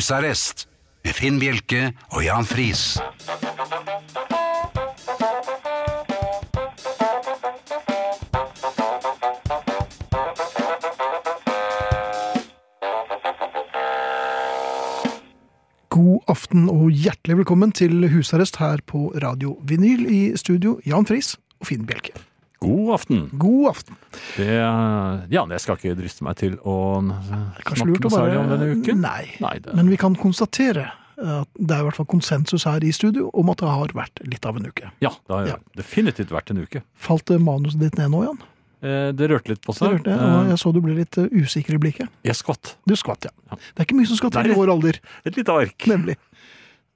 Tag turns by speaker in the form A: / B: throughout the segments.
A: Husarrest med Finn Bjelke og Jan Friis.
B: God aften og hjertelig velkommen til husarrest her på Radio Vinyl i studio Jan Friis og Finn Bjelke.
C: God aften.
B: God aften.
C: Det, ja, jeg skal ikke driste meg til å
B: Kanskje
C: snakke
B: lurt å
C: med Sari
B: bare
C: om denne uken.
B: Nei.
C: Nei, det-
B: Men vi kan konstatere at det er i hvert fall konsensus her i studio om at det har vært litt av en uke.
C: Ja, det har
B: Ja.
C: definitivt vært en uke.
B: Falt det manuset ditt ned nå, Jan?
C: Eh, Det rørte litt på
B: Det
C: seg.
B: hørte jeg, og
C: Eh,
B: jeg så du ble litt eh, usikker i blikket.
C: Jeg skvatt.
B: Du skvatt, ja. Det er ikke mye som skal til
C: Nei.
B: i vår alder,
C: Et lite ark.
B: nemlig.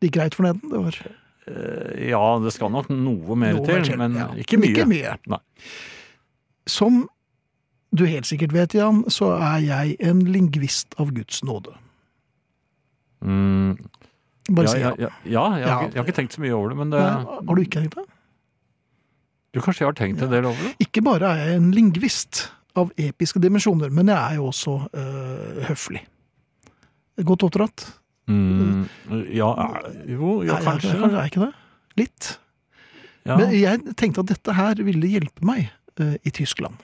B: Det gikk greit for neden. Det var
C: Eh, Ja, det skal nok noe mer
B: noe
C: til,
B: verdt-
C: men
B: ja,
C: ikke mye.
B: Ikke mye.
C: Nei.
B: Som du helt sikkert vet, Jan, så er jeg en lingvist av Guds nåde.
C: Mm,
B: Bare
C: ja,
B: si
C: ja,
B: ja.
C: ja, ja, jeg,
B: Ja.
C: har ikke, jeg har ikke tenkt så mye over det, men det,
B: Nei, Har du ikke tenkt det?
C: du kanskje jeg har tenkt en del over det?
B: Ikke bare er jeg en lingvist av episke dimensjoner, men jeg er jo også øh, høflig. Godt oppdratt?
C: Mm, ja, er- jo, jo,
B: Er jeg-
C: kanskje.
B: kanskje er jeg ikke det? Litt.
C: Ja.
B: Men jeg tenkte at dette her ville hjelpe meg eh, i Tyskland.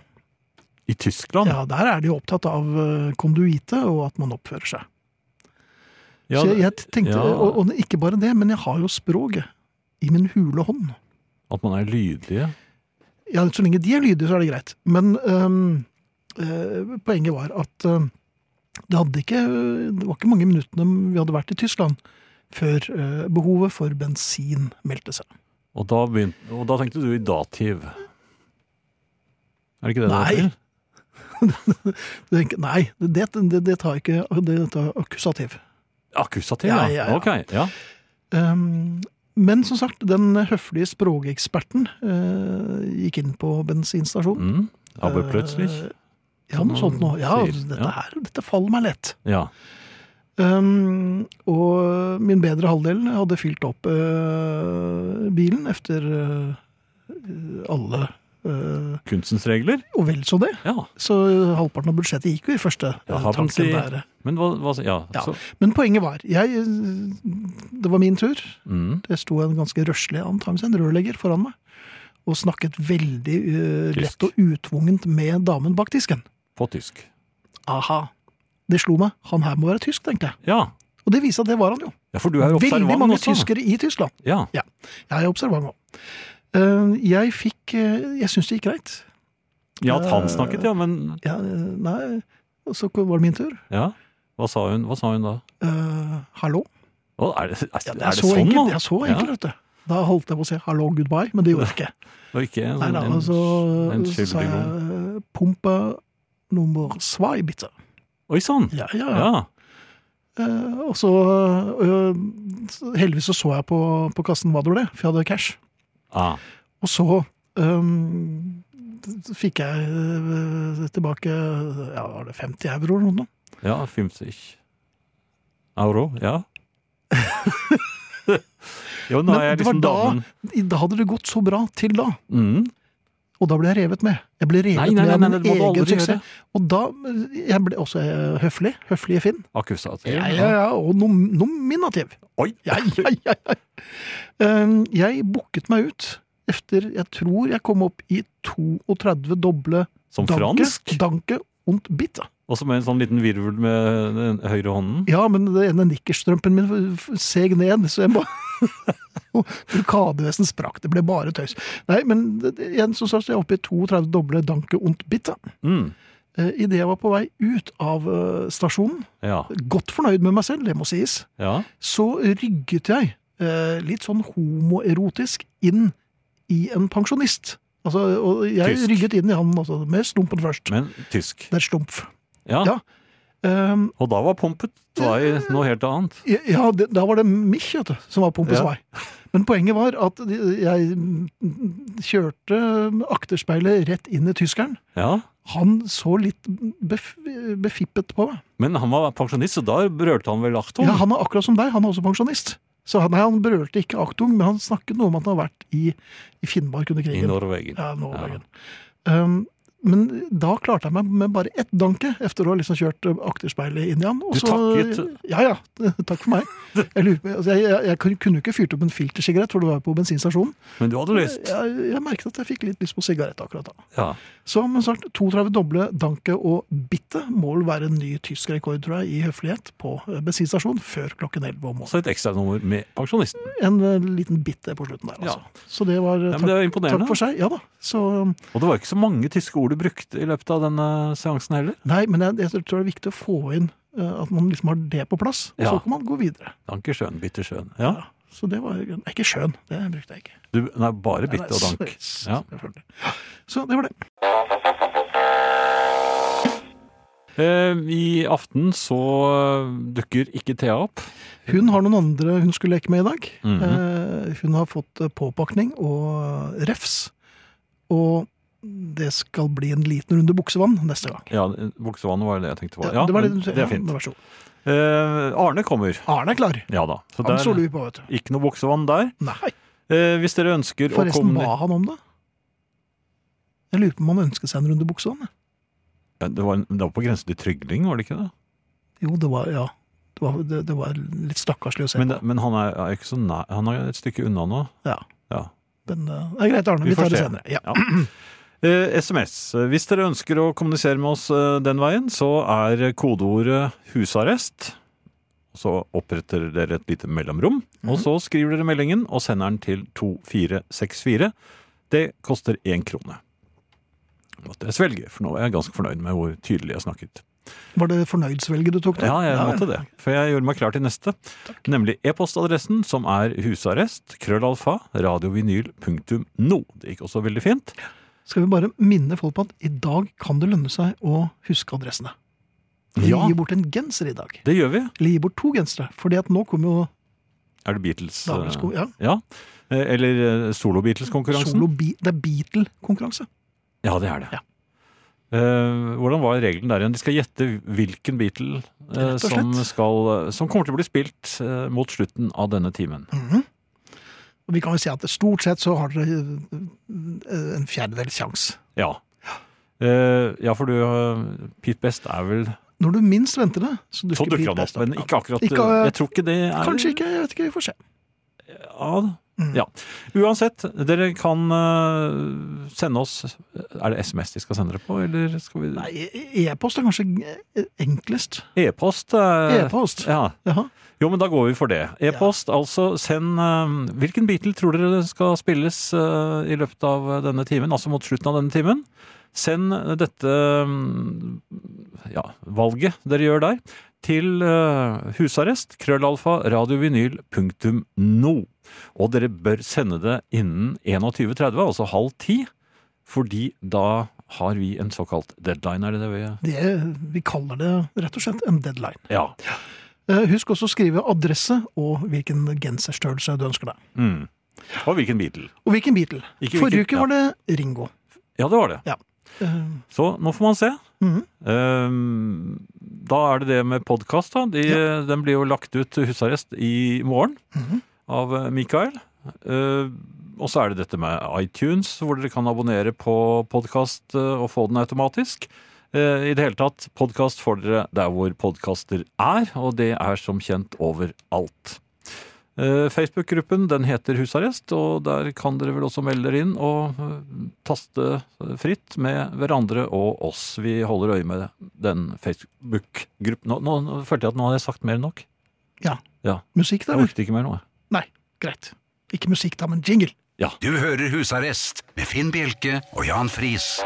C: I Tyskland?
B: Ja, Der er de jo opptatt av eh, konduite og at man oppfører seg.
C: Ja,
B: Så jeg, jeg tenkte,
C: ja.
B: og, og ikke bare det, men jeg har jo språket i min hule hånd.
C: At man er lydige?
B: Ja, Så lenge de er lydige, så er det greit. Men ehm, eh, poenget var at ehm, det, hadde ikke, det var ikke mange minuttene vi hadde vært i Tyskland før eh, behovet for bensin meldte seg.
C: Og da, begynte, og da tenkte du i dativ. Er det ikke det
B: Nei.
C: det heter?
B: Du tenker, Nei, det, det, det tar ikke det tar akkusativ.
C: Akkusativ,
B: Ja, ja,
C: ja.
B: ja.
C: Ok, ja.
B: Ehm, men som sagt, den høflige språkeksperten eh, gikk inn på bensinstasjonen.
C: Mm. Aber plötzlich.
B: Eh, ja, noe sånt noe. Ja, altså,
C: Sier,
B: dette,
C: ja.
B: her, dette faller meg lett.
C: Ja.
B: Ehm, og min bedre halvdel hadde fylt opp eh, bilen etter eh, alle eh,
C: Kunstens regler.
B: Og vel så det.
C: Ja.
B: Så halvparten av budsjettet gikk jo i første eh,
C: Ja, har man
B: tanken
C: si-
B: der.
C: Men hva, hva Ja.
B: Ja.
C: Så,
B: Men poenget var jeg, eh, Det var min tur.
C: mm.
B: Det sto en ganske røslig antakelse, en rørlegger, foran meg. Og snakket veldig eh,
C: Tysk.
B: lett og utvungent med damen bak disken.
C: På tysk.
B: Aha. Det slo meg. Han her må være tysk, tenkte jeg.
C: Ja.
B: Og det viste at det var han jo.
C: ja, for du er jo observant
B: Veldig mange
C: også.
B: tyskere i Tyskland.
C: Ja.
B: Ja, jeg er observant òg. Jeg fikk eh, Jeg syns det gikk greit.
C: ja, at
B: Eh.
C: han snakket, ja. Men
B: Ja, eh, nei, og så var det min tur.
C: ja. Hva sa hun, hva sa hun da?
B: Eh, hallo?
C: Å, er, det, er,
B: Ja,
C: er det
B: så
C: sånn,
B: enkelt,
C: da?
B: ja, så enkelt vet du. Da holdt jeg på å si hallo, goodbye, men det gjorde jeg ikke.
C: Og ikke en,
B: Nei,
C: sånn,
B: da,
C: en,
B: altså,
C: en
B: så sa
C: skyldig
B: jeg
C: god
B: eh, pumpe nummer zwei, bitte.
C: Oi sann!
B: Ja, ja, ja.
C: Ja.
B: Eh, og så eh, så Heldigvis så så jeg på, på kassen hva det ble, for jeg hadde cash.
C: Ah.
B: Og så øhm, fikk jeg øh, tilbake ja, var det 50 euro eller noe.
C: ja 50 euro. Ja. jo, nå
B: Men
C: er jeg
B: det var
C: liksom
B: da-
C: damen.
B: I- Da hadde det gått så bra til da.
C: Mm.
B: Og da ble jeg revet med. Jeg ble revet
C: Nei, nei, nei, nei,
B: med
C: det må
B: av
C: du
B: min egen
C: aldri
B: suksess. Og da øh, jeg ble også øh, høflig. Høflige Finn.
C: Akkusativ.
B: Ja, ja, ja, og nom nominativ.
C: Oi!
B: Ja, ja, ja, ja. Øhm, jeg booket meg ut efter Jeg tror jeg kom opp i 32 doble
C: Som
B: danke,
C: fransk.
B: danke und bitte.
C: Og så med en sånn liten virvel med den høyre hånden.
B: Ja, men det ene nikkerstrømpen min f- f- seg ned, så jeg bare Og Brukadevesen sprakk, det ble bare tøys. Nei, men det- det- igjen så sa jeg oppe i 32 doble danke und bitte.
C: Mm.
B: Idet Eh, jeg var på vei ut av eh, stasjonen,
C: Ja.
B: godt fornøyd med meg selv, det må sies,
C: ja.
B: så rygget jeg eh, litt sånn homoerotisk inn i en pensjonist. Altså, og jeg
C: Tysk.
B: rygget inn i han altså, med slumpen først.
C: Men tysk.
B: Det er slump.
C: Ja.
B: Ja. Um,
C: Og da var pumpet var i noe helt annet.
B: Ja, Ja, det, da var det Mich vet du, som var Pompes
C: Ja.
B: vei. Men poenget var at jeg kjørte akterspeilet rett inn i tyskeren.
C: Ja.
B: Han så litt bef befippet på meg.
C: Men han var pensjonist, så da rørte han vel Achtung?
B: Ja, han er akkurat som deg, han er også pensjonist. Så han, nei, han brølte ikke Aktung, men han snakket noe om at han har vært i, i Finnmark under
C: I
B: krigen.
C: Norwegen.
B: Ja, Norge. Um, Men da klarte jeg meg med bare ett danke, etter å ha liksom kjørt eh, akterspeilet inn i han. og
C: Du
B: så-
C: takket?
B: Ja, ja. Takk for meg. Jeg, lurer, på- altså, jeg, jeg, jeg kunne jo ikke fyrt opp en filtersigarett, for det var på bensinstasjonen.
C: Men du hadde lyst.
B: Jeg, jeg merket at jeg fikk litt lyst på sigarett akkurat da.
C: Ja.
B: Så men snart 32 doble danke og bitte må vel være en ny tysk rekord, tror jeg, i høflighet på eh, bensinstasjon før klokken 11 om morgenen.
C: Også et ekstranummer med pensjonisten.
B: En eh, liten bitte på slutten der, altså. Så det var eh,
C: Ja, men
B: takk,
C: det er jo
B: takk
C: imponerende.
B: for seg. Ja da. Så um,
C: Og det var ikke så mange tyske ord du brukte i løpet av denne seansen heller.
B: Nei, men jeg, jeg tror det er viktig å få inn eh, at man liksom har det på plass, og
C: Ja.
B: så kan man gå videre.
C: Danke schön, bitte schön. Ja.
B: Så det var Nei, ikke skjønn. Det brukte jeg ikke.
C: Du, nei, bare bitte og
B: Nei,
C: dank.
B: s- s-
C: Ja.
B: selvfølgelig. Så det var det.
C: Eh, I aften så eh, dukker ikke Thea opp.
B: Hun har noen andre hun skulle leke med i dag.
C: Mhm.
B: Eh, Hun har fått eh, påpakning og refs. Og det skal bli en liten runde buksevann neste gang.
C: Ja, Buksevannet var det jeg tenkte på. Ja,
B: det, var
C: men
B: det,
C: det er
B: Ja,
C: fint.
B: vær så god.
C: Eh, Arne kommer.
B: Arne er klar.
C: Ja da. Så
B: Han
C: der-
B: stoler vi på, vet du.
C: ikke noe buksevann der.
B: Nei.
C: Eh, hvis dere ønsker å
B: Forresten,
C: komme
B: ba han om det? Jeg lurer på om han ønsket seg en runde buksevann. jeg.
C: Ja, det, var, en- det var på grensen til trygling, var det ikke det?
B: Jo, det var Ja. Det var, det, det var litt stakkarslig å se.
C: Men,
B: på.
C: men han er, er ikke så nær. Han er et stykke unna nå.
B: Ja.
C: Ja.
B: Men eh, det er greit, Arne.
C: Vi
B: Vi
C: får
B: tar det
C: se.
B: senere. Ja.
C: Ja. Eh, SMS. Eh, Hvis dere ønsker å kommunisere med oss eh, den veien, så er kodeordet 'husarrest'. Så oppretter dere et lite mellomrom, og
B: Mhm.
C: så skriver dere meldingen og sender den til 2464. Det koster én krone. Måtte jeg svelge, for nå er jeg ganske fornøyd med hvor tydelig jeg snakket.
B: Var det fornøydsvelget du tok nå?
C: Ja, jeg måtte det, for jeg gjorde meg klar til neste. Nemlig e-postadressen, som er husarrest, krøllalfa, radiovinyl.no. Det gikk også veldig fint.
B: Skal vi bare minne folk på at i dag kan det lønne seg å huske adressene. Vi
C: Ja.
B: gir bort en genser i dag.
C: Det gjør vi.
B: Eller gi bort to gensere. Fordi at nå kommer jo
C: Er det Beatles?
B: Dagens sko. Ja.
C: eh, Ja. Eh, Eller eh, solo-Beatles-konkurransen?
B: Solo, Be- det er Beatle-konkurranse.
C: Ja, det er det.
B: Ja.
C: Eh, hvordan var regelen der igjen? De skal gjette hvilken Beatle eh,
B: Rett og
C: som,
B: slett.
C: skal, eh, som kommer til å bli spilt eh, mot slutten av denne timen.
B: Mhm. Og vi kan vel si at stort sett så har dere eh, en fjerdedels sjanse.
C: Ja. Eh, ja, for du eh, Pete Best er vel
B: Når du minst venter det, så dukker
C: Så dukker
B: Pete
C: han opp,
B: Best
C: men ikke akkurat
B: Ikke, eh,
C: Jeg tror ikke det er
B: Kanskje ikke, jeg vet ikke, vi får se.
C: Ja,
B: Mm.
C: ja. Uansett, dere kan eh, sende oss Er det SMS de skal sende dere på, eller skal vi
B: Nei, e-post er kanskje eh, enklest.
C: E-post? eh,
B: E-post?
C: Ja.
B: Jaha.
C: Jo, men da går vi for det. E-post, altså send eh, Hvilken Beatle tror dere skal spilles eh, i løpet av denne timen? Altså mot slutten av denne timen. Send dette mm, ja, valget dere gjør der, til eh, husarrest krøllalfa radiovinyl.no. Og dere bør sende det innen 21.30, altså halv ti, fordi da har vi en såkalt deadline, er det det vi
B: Det, vi kaller det rett og slett en deadline.
C: Ja.
B: Eh, Husk også å skrive adresse og hvilken genserstørrelse du ønsker deg.
C: Mm. Og hvilken Beatle?
B: Og hvilken Beatle.
C: Ikke hvilken-
B: Forrige uke
C: ja.
B: var det Ringo.
C: Ja, det var det.
B: Eh,
C: Så nå får man se.
B: Mhm.
C: Ehm, da er det det med podkast. De, Den blir jo lagt ut til husarrest i morgen
B: Mhm.
C: av eh, Mikael. Ehm, og så er det dette med iTunes, hvor dere kan abonnere på podkast og få den automatisk. Eh, I det hele tatt, podkast får dere der hvor podkaster er, og det er som kjent overalt. Eh, Facebook-gruppen den heter Husarrest, og der kan dere vel også melde dere inn og eh, taste fritt med hverandre og oss. Vi holder øye med den Facebook-gruppen. Nå, nå, nå følte jeg at nå hadde jeg sagt mer enn nok.
B: Musikk, da?
C: Jeg
B: eller?
C: orket ikke mer nå. jeg.
B: Nei, greit. Ikke musikk, da, men jingle.
A: Du hører Husarrest med Finn Bjelke og Jan Friis.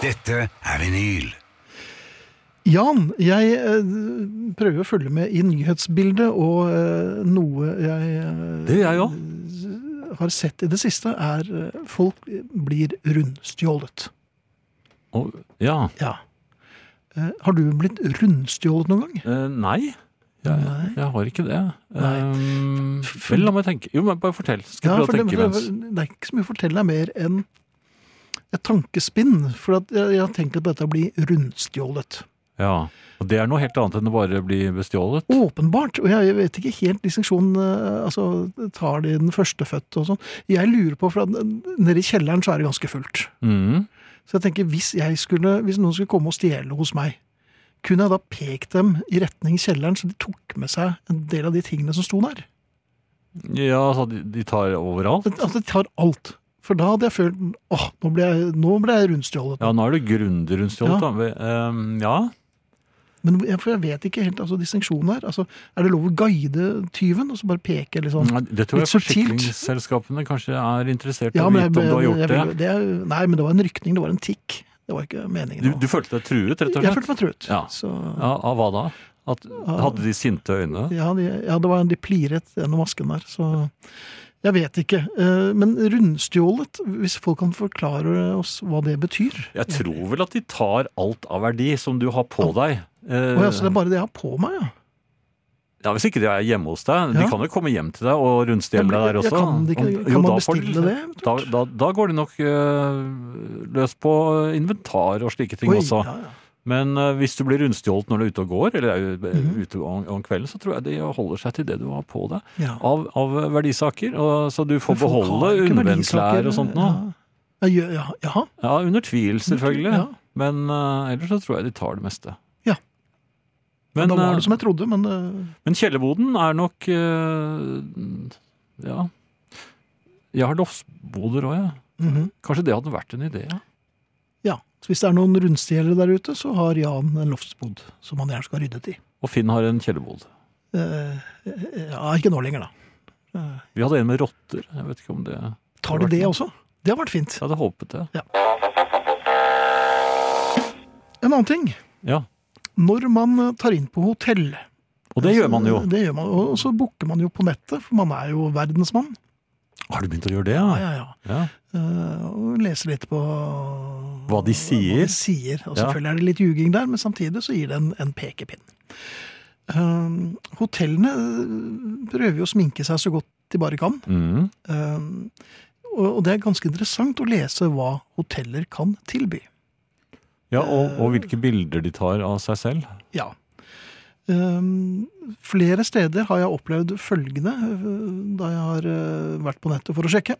A: Dette er vinyl.
B: Jan, jeg eh, prøver å følge med i nyhetsbildet, og eh, noe jeg eh,
C: Det gjør jeg òg.
B: har sett i det siste, er eh, folk blir rundstjålet.
C: Og- Ja.
B: Ja. Eh, har du blitt rundstjålet noen gang?
C: Eh, nei. Jeg,
B: Nei.
C: jeg har ikke det.
B: Nei.
C: Ehm,
B: F-
C: vel, la meg tenke. Jo, men bare fortell. Skal
B: for
C: jeg prøve å
B: det,
C: tenke
B: for
C: mens.
B: det, det er ikke så mye å fortelle deg mer enn et tankespinn. For at jeg, jeg har tenkt at dette blir rundstjålet.
C: Ja. Og det er noe helt annet enn å bare bli bestjålet.
B: Oh. Åpenbart. Og jeg, jeg vet ikke helt distinksjonen eh, altså, Tar de den førstefødte og sånn? Jeg lurer på, for at nede i kjelleren så er det ganske fullt.
C: Mhm.
B: Så jeg tenker, hvis, jeg skulle, hvis noen skulle komme og stjele hos meg, kunne jeg da pekt dem i retning kjelleren, så de tok med seg en del av de tingene som sto der?
C: Ja, altså, de, de tar overalt.
B: At at de tar alt. For da hadde jeg følt åh, nå ble jeg, nå ble jeg rundstjålet.
C: Ja, nå er det grundig rundt stjålet,
B: Ja.
C: da. Ve- ehm, ja.
B: Men jeg, for jeg vet ikke helt altså, distinksjonen her. Altså, er det lov å guide tyven, og så bare peke litt sånn?
C: Nei, Det tror jeg
B: Litt subtilt.
C: forsikringsselskapene kanskje er interessert i
B: Ja,
C: å
B: men jeg,
C: vite om du har
B: jeg-
C: gjort det.
B: jeg- det- Nei, men det var en rykning, det var en tikk. Det var ikke meningen.
C: Du,
B: å-
C: du følte deg truet, rett
B: jeg
C: og slett?
B: følte meg truet.
C: Ja.
B: Så,
C: Ja, av hva da? At, hadde de sinte øyne?
B: ja, de, ja, det var en de pliret gjennom asken der, så jeg vet ikke. Eh, Men rundstjålet, hvis folk kan forklare oss hva det betyr.
C: Jeg tror vel at de tar alt av verdi som du har på deg. Eh,
B: Og altså, det er bare det jeg har på meg, ja.
C: ja, Hvis ikke de er hjemme hos deg. De
B: Ja.
C: kan jo komme hjem til deg og rundstjele deg der
B: Jeg- jeg
C: også.
B: kan det ikke-
C: Om-
B: kan
C: jo,
B: man
C: da får de-
B: bestille det,
C: Da, da, da går de nok eh, løs på inventar og slike ting
B: Oi,
C: også.
B: ja, ja.
C: Men eh, hvis du blir rundstjålet når du er ute og går, eller er jo, eh,
B: Mhm.
C: ute om, om kvelden, så tror jeg de holder seg til det du har på deg
B: Ja.
C: av, av verdisaker. Og, så du får
B: Men folk
C: beholde
B: har ikke verdisaker,
C: undervennsklær og sånt nå.
B: Ja. Ja, ja, jaha.
C: Ja, under tvil selvfølgelig.
B: Ja.
C: Men eh, ellers så tror jeg de tar det meste.
B: Ja.
C: Men,
B: da var det
C: eh,
B: som jeg trodde, men eh,
C: men kjellerboden er nok eh, Ja. Jeg har loftsboder òg, jeg.
B: mhm.
C: Kanskje det hadde vært en idé? Ja.
B: ja. Så hvis det er noen rundstjelere der ute, så har Jan en loftsbod som han gjerne skal ha ryddet i.
C: Og Finn har en kjellerbod.
B: Eh, ja, ikke nå lenger, da. Eh,
C: Vi hadde en med rotter. Jeg vet ikke om det Jeg
B: Tar de det også? Det har vært fint.
C: hadde håpet det.
B: En annen ting.
C: Ja.
B: Når man eh, tar inn på hotell
C: Og det gjør man jo.
B: Det gjør man, Og så booker man jo på nettet, for man er jo verdensmann.
C: Har du begynt å gjøre det?
B: Ja, ja, ja.
C: Ja.
B: Eh, og leser litt på
C: Hva de
B: Hva
C: sier.
B: de sier. Og
C: Ja.
B: selvfølgelig er det litt ljuging der, men samtidig så gir det en, en pekepinn. Eh, hotellene eh, prøver jo å sminke seg så godt de bare kan.
C: Mm.
B: Eh, og, og det er ganske interessant å lese hva hoteller kan tilby.
C: ja og, og hvilke bilder de tar av seg selv.
B: Ja. Ehm, flere steder har jeg opplevd følgende eh, da jeg har eh, vært på nettet for å sjekke.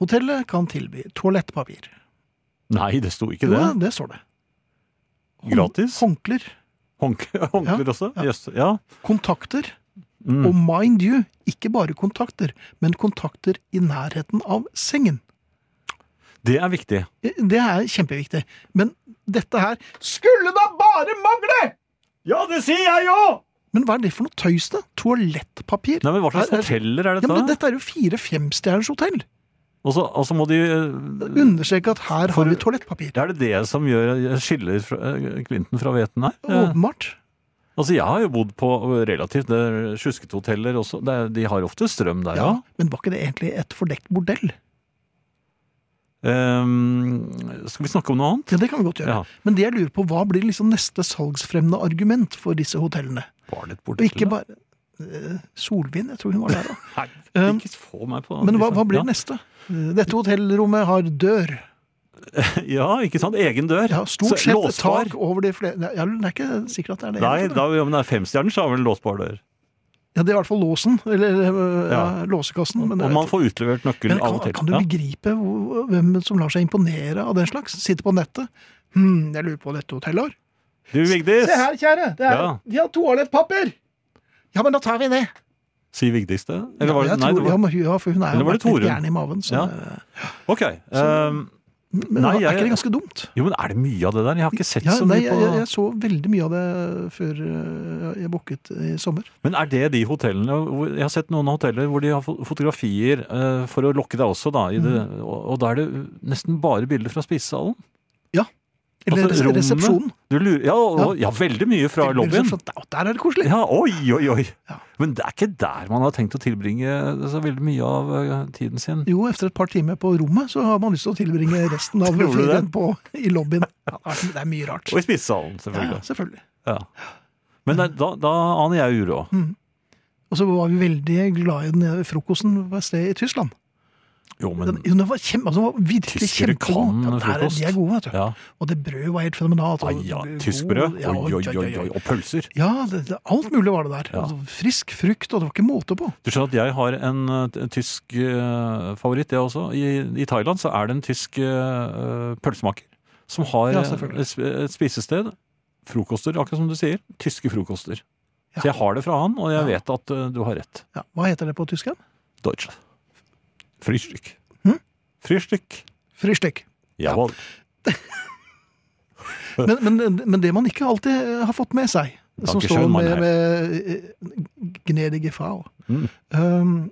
B: Hotellet kan tilby toalettpapir.
C: Nei, det sto ikke
B: Jo,
C: det.
B: da, det står det. Hånd-
C: Gratis.
B: Håndklær,
C: Håndkle- Håndklær også?
B: ja.
C: Jøss. Ja.
B: kontakter,
C: Mm.
B: og mind you, ikke bare kontakter, men kontakter i nærheten av sengen.
C: Det er viktig.
B: Eh, Det er kjempeviktig. Men dette her skulle da bare mangle!
C: Ja, det sier jeg jo!
B: Men hva er det for noe tøys, da? Toalettpapir?
C: Nei, men Hva slags
B: Er- er-
C: hoteller er
B: Ja,
C: dette?
B: men Dette er jo fire-femstjerners hotell.
C: Og så og så må de eh,
B: Understreke at her
C: For-
B: har vi toalettpapir.
C: Er det det som gjør, skiller fra, eh, Clinton fra Veten her? Eh,
B: Åpenbart.
C: Altså, Jeg har jo bodd på eh, relativt det er sjuskete hoteller også. Det er, de har ofte strøm der, ja.
B: Ja. Men var ikke det egentlig et fordekt bordell?
C: Ehm, skal vi snakke om noe annet?
B: Ja, Det kan vi godt gjøre.
C: Ja.
B: Men det jeg lurer på, hva blir liksom neste salgsfremmende argument for disse hotellene?
C: Var det et
B: Og
C: bordell?
B: ikke bare eh, Solvin, jeg tror hun var der da.
C: Nei,
B: Um,
C: ikke få meg på
B: Men hva, hva blir
C: ja.
B: neste? Eh, Dette hotellrommet har dør.
C: Ja, ikke sant? Egen dør.
B: Ja,
C: Så-
B: stort sett
C: låsbar.
B: tak over de flere ja, Det er ikke sikkert at det er det.
C: Nei,
B: egentlig,
C: da, ja, men det er femstjerners, da vel låsbar dør.
B: Ja, Det er i hvert fall låsen. Eller eh, ja.
C: Ja.
B: låsekassen. Men, det
C: Og
B: er-
C: man får utlevert nøkkel
B: men
C: av og
B: kan,
C: til.
B: kan du
C: Ja.
B: begripe hvor- hvem som lar seg imponere av den slags? Sitter på nettet. Hm, jeg lurer på hva dette hotellet har.
C: Du, Vigdis!
B: Se her, kjære! Det er,
C: Ja.
B: De har toalettpapir! Ja, men da tar vi det.
C: Sier Vigdis det? Eller var det,
B: ja,
C: nei, det
B: ja,
C: var,
B: men hun- ja, for hun er jo
C: Eller var det
B: vært litt
C: Torunn?
B: gæren i maven. Så,
C: Ja. ok. ehm,
B: Men
C: Nei,
B: er
C: jeg-
B: ikke det ganske dumt?
C: jo, men er det mye av det der? Jeg har ikke sett
B: Ja,
C: så
B: nei,
C: mye
B: jeg,
C: på
B: jeg, jeg så veldig mye av det før eh, jeg booket i sommer.
C: Men er det de hotellene hvor- Jeg har sett noen hoteller hvor de har fo- fotografier eh, for å lokke deg også, da. I det,
B: Mm.
C: og, og da er det nesten bare bilder fra spisesalen.
B: Eller
C: Altså,
B: res- resepsjonen.
C: Du lurer, ja, og, ja, veldig mye fra lobbyen.
B: Resepsjon, Der der er det koselig!
C: Ja, oi, oi, oi.
B: Ja.
C: Men det er ikke der man har tenkt å tilbringe så veldig mye av eh, tiden sin.
B: Jo, etter et par timer på rommet, så har man lyst til å tilbringe resten av
C: Tror du det?
B: ferien på, i lobbyen. Ja, det er mye rart.
C: Og i spisesalen,
B: Ja, ja,
C: selvfølgelig.
B: selvfølgelig.
C: Ja. Men det- da, da aner jeg uråd.
B: Og så var vi veldig glad i den frokosten på et sted i Tyskland.
C: Jo, men
B: den, jo, den var kjempe, altså, den var virkelig
C: Tyskere
B: kjempegod.
C: kan
B: ja, der,
C: frokost.
B: De er gode, vet du.
C: ja.
B: Og det brødet var helt fenomenalt.
C: Ai,
B: og
C: ja.
B: god-
C: Tyskbrød?
B: ja,
C: Oi, oi, oi, oi. Og pølser.
B: Ja, det, det, alt mulig var det der.
C: Ja.
B: Altså, frisk frukt, og det var ikke måte på.
C: Du skjønner at jeg har en eh, t- tysk eh, favoritt, jeg også. I, I Thailand så er det en tysk eh, pølsemaker som har
B: Ja,
C: eh,
B: selvfølgelig.
C: et sp- et spisested. Frokoster, akkurat som du sier. Tyske frokoster.
B: Ja.
C: Så jeg har det fra han, og
B: Ja.
C: jeg vet at eh, du har rett.
B: Ja, hva heter det på tysk? igjen?
C: Deutsche. Frühstück.
B: Hm?
C: Frühstück.
B: Frühstück.
C: Jawohl.
B: Men, men, men det man ikke alltid eh, har fått med seg, som står
C: Dankeschön,
B: med,
C: Mannheim.
B: med eh, gnedige frau
C: Mm.
B: Um,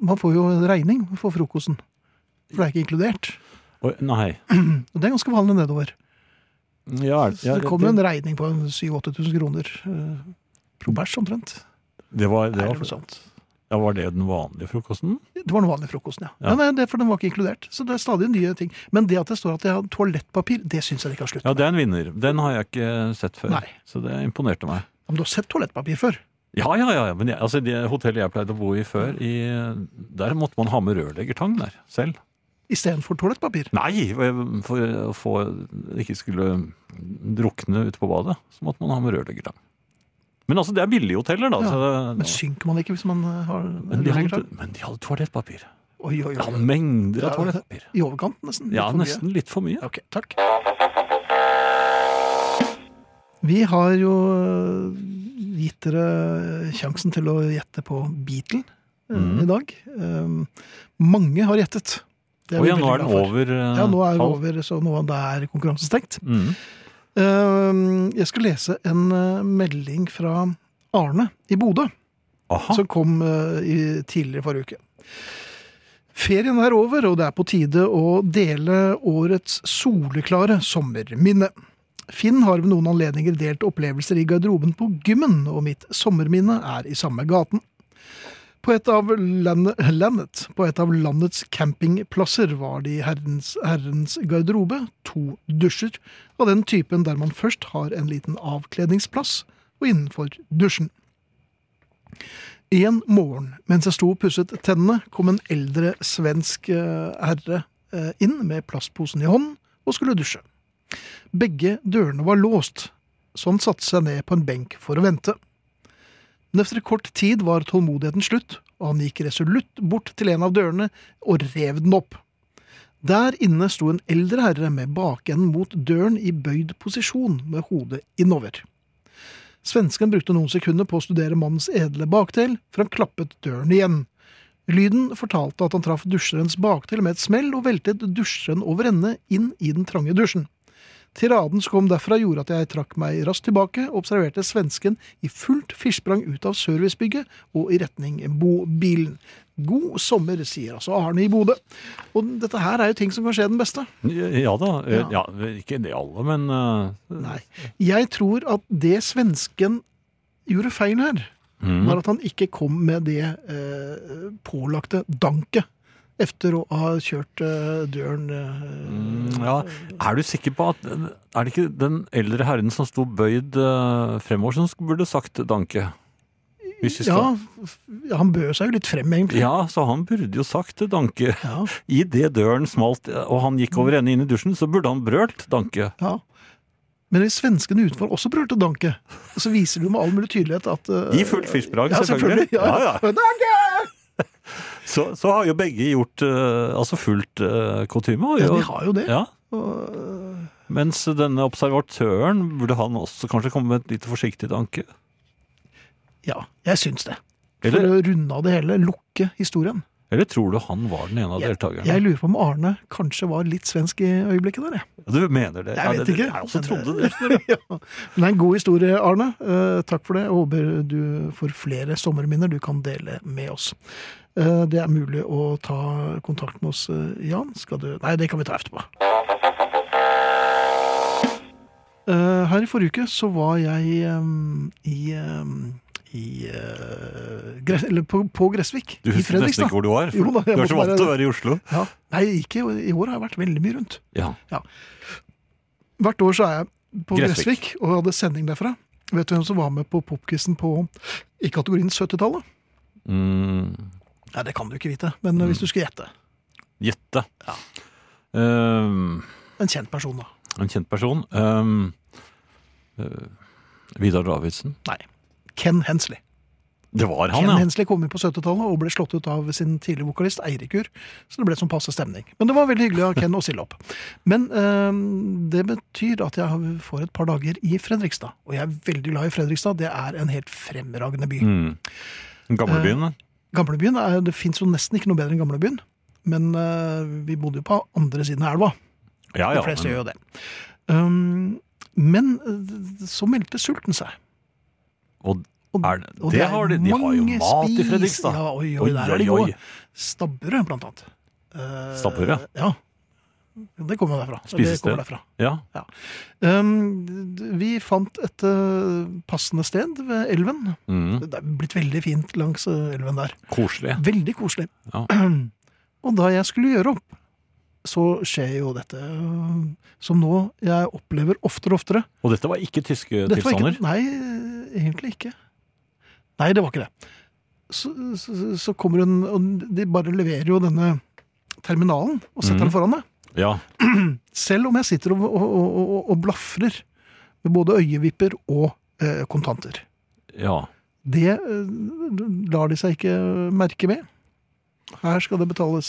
B: Man får jo en regning for frokosten, for det er ikke inkludert.
C: Oi, nei.
B: Og det er ganske vanlig nedover.
C: Ja, er-
B: Så
C: ja,
B: det kommer en regning på 7000-8000 kroner. eh, Pro bæsj omtrent.
C: det var, det
B: Eller
C: var,
B: noe sånt.
C: ja, var det den vanlige frokosten?
B: Det var den vanlige frokosten, ja.
C: Ja.
B: Nei, nei, det, for den var ikke inkludert. Så det er stadig nye ting. Men det at det står at jeg har toalettpapir, det syns jeg de kan slutte
C: Ja, det er en vinner. Den har jeg ikke sett før.
B: Nei.
C: Så det imponerte meg.
B: med. Men du har sett toalettpapir før?
C: Ja, ja, ja. ja, Men jeg, altså, det hotellet jeg pleide å bo i før, i, der måtte man ha med rørleggertang der selv.
B: Istedenfor toalettpapir?
C: Nei, for å få ikke skulle drukne ute på badet, så måtte man ha med rørleggertang. Men altså, det er billige hoteller, da.
B: Ja,
C: så det-
B: Men synker man ikke hvis man eh, har
C: men, de hadde,
B: rørleggertang?
C: men de hadde toalettpapir.
B: Oi, oi,
C: Ja,
B: oi.
C: mengder av
B: Ja.
C: toalettpapir.
B: I overkant, nesten? Litt
C: Ja,
B: for mye.
C: nesten litt for mye.
B: Ok, takk. Vi har jo øh, gitt dere eh, sjansen til å gjette på Beatle øh,
C: Mhm.
B: i dag. Um, Mange har gjettet. Det
C: Og
B: vi
C: ja, nå
B: veldig
C: er den
B: glad for.
C: over. eh,
B: Ja, nå er den
C: halv.
B: over, så nå er det konkurransen stengt.
C: Mm.
B: Um, Jeg skal lese en øh, melding fra Arne i Bodø
C: Aha.
B: som kom eh, i, tidligere forrige uke. Ferien er over, og det er på tide å dele årets soleklare sommerminne. Finn har ved noen anledninger delt opplevelser i garderoben på gymmen, og mitt sommerminne er i samme gaten. På et av, land, landet, på et av landets campingplasser var det i herrens, herrens garderobe to dusjer, av den typen der man først har en liten avkledningsplass, og innenfor dusjen. En morgen, mens jeg sto og pusset tennene, kom en eldre svensk eh, herre eh, inn med plastposen i hånden og skulle dusje. Begge dørene var låst, så han satte seg ned på en benk for å vente. Men etter kort tid var tålmodigheten slutt, og han gikk resolutt bort til en av dørene og rev den opp. Der inne sto en eldre herre med bakenden mot døren i bøyd posisjon med hodet innover. Svensken brukte noen sekunder på å studere mannens edle bakdel, for han klappet døren igjen. Lyden fortalte at han traff dusjerens bakdel med et smell og veltet dusjeren over ende inn i den trange dusjen. Tiraden som kom derfra gjorde at jeg trakk meg raskt tilbake og observerte svensken i fullt firsprang ut av servicebygget og i retning bobilen. God sommer, sier altså Arne i Bodø. Og dette her er jo ting som kan skje den beste.
C: Ja da. eh, Ja,
B: Ja.
C: ikke det alle, men eh,
B: Nei. Jeg tror at det svensken gjorde feil her,
C: mm.
B: var at han ikke kom med det eh, pålagte danket etter å ha kjørt eh, døren eh,
C: Mm, ja. Er du sikker på at Er det ikke den eldre herren som sto bøyd eh, fremover, som sk- burde sagt danke? Hvis vi
B: ja,
C: skal.
B: f- han bød seg jo litt frem, egentlig.
C: Ja, så han burde jo sagt danke.
B: Ja.
C: Idet døren smalt eh, og han gikk over ende inn i dusjen, så burde han brølt danke.
B: Ja. Men hvis svenskene utenfor også brølte danke, så viser det jo med all mulig tydelighet at eh,
C: I fullt firsprang,
B: ja,
C: selvfølgelig.
B: selvfølgelig. Ja,
C: Ja, ja.
B: Men Danke!
C: Så, så har jo begge gjort eh, altså fullt eh, kutyme. og
B: Ja, Altså,
C: jo-
B: de har jo det.
C: ja.
B: Og, eh,
C: Mens denne observatøren burde han også kanskje komme med et litt forsiktig danke.
B: ja, jeg syns det. For
C: Eller,
B: å runde av det hele, lukke historien.
C: eller tror du han var den ene av
B: Jeg,
C: deltakerne?
B: jeg lurer på om Arne kanskje var litt svensk i øyeblikket der, jeg.
C: Du mener det?
B: Jeg vet
C: det,
B: ikke.
C: Jeg også
B: Men-
C: trodde det.
B: ja. Men det er en god historie, Arne. Eh, takk for det. Jeg håper du får flere sommerminner du kan dele med oss. Eh, det er mulig å ta kontakt med oss, eh, Jan. Skal du Nei, det kan vi ta etterpå. Eh, her i forrige uke så var jeg em, i, em, i eh, Gre- eller på, på Gressvik.
C: Du
B: I
C: husker nesten
B: Fredrikstad.
C: ikke hvor du var.
B: Jo da,
C: For
B: jeg
C: du er så
B: måtte
C: vant
B: være-
C: til å være i Oslo.
B: Ja. Nei, ikke i år har jeg vært veldig mye rundt.
C: Ja.
B: Hvert år så er jeg på
C: Gressvik.
B: Gressvik og hadde sending derfra. Vet du hvem som var med på popquizen på i kategorien 70-tallet?
C: Mm.
B: Nei, det kan du ikke vite, men eh, hvis du skulle gjette.
C: Gjette. Ehm,
B: En kjent person, da.
C: en kjent person. Ehm, eh, Vidar Davidsen.
B: Nei. Ken Hensley.
C: Det var han,
B: Ken
C: ja.
B: Hensley kom inn på 70-tallet og ble slått ut av sin tidligere vokalist Eirik Ur. Så det ble sånn passe stemning. Men det var veldig hyggelig av Ken å stille opp. Men øhm, det betyr at jeg har- får et par dager i Fredrikstad. Og jeg er veldig glad i Fredrikstad. Det er en helt fremragende by.
C: Mm.
B: Eh,
C: Gamlebyen. da.
B: Gamlebyen er, det fins jo nesten ikke noe bedre enn Gamlebyen. Men øh, vi bodde jo på andre siden av elva.
C: Ja,
B: De
C: Ah, ja.
B: fleste
C: men-
B: gjør jo det. Øhm, men øh, så meldte sulten seg.
C: Og
B: Og,
C: er det,
B: og
C: det
B: er
C: har de, de har jo
B: mange
C: mat i
B: spis-
C: Fredrikstad.
B: Ja, oi, oi,
C: Oi,
B: der er de
C: oi,
B: gode.
C: oi.
B: Stabburet, blant annet. Eh,
C: Stabburet?
B: Ja. Det kommer derfra.
C: Spisested.
B: Det kommer derfra.
C: Ja.
B: Um, d- vi fant et eh, passende sted ved elven.
C: Mm.
B: Det er blitt veldig fint langs eh, elven der.
C: Koselig.
B: Veldig koselig.
C: Ja.
B: Og da jeg skulle gjøre opp, så skjer jo dette eh, som nå jeg opplever oftere og oftere.
C: Og dette var ikke tyske
B: Dette var
C: tilstander.
B: Ikke, nei, egentlig ikke. Nei, det var ikke det. Så, så, så kommer hun, og de bare leverer jo denne terminalen og setter
C: Mhm.
B: den foran deg.
C: Ja.
B: Selv om jeg sitter og, og, og, og- og blafrer med både øyevipper og eh, kontanter.
C: ja.
B: Det eh, lar de seg ikke merke med. Her skal det betales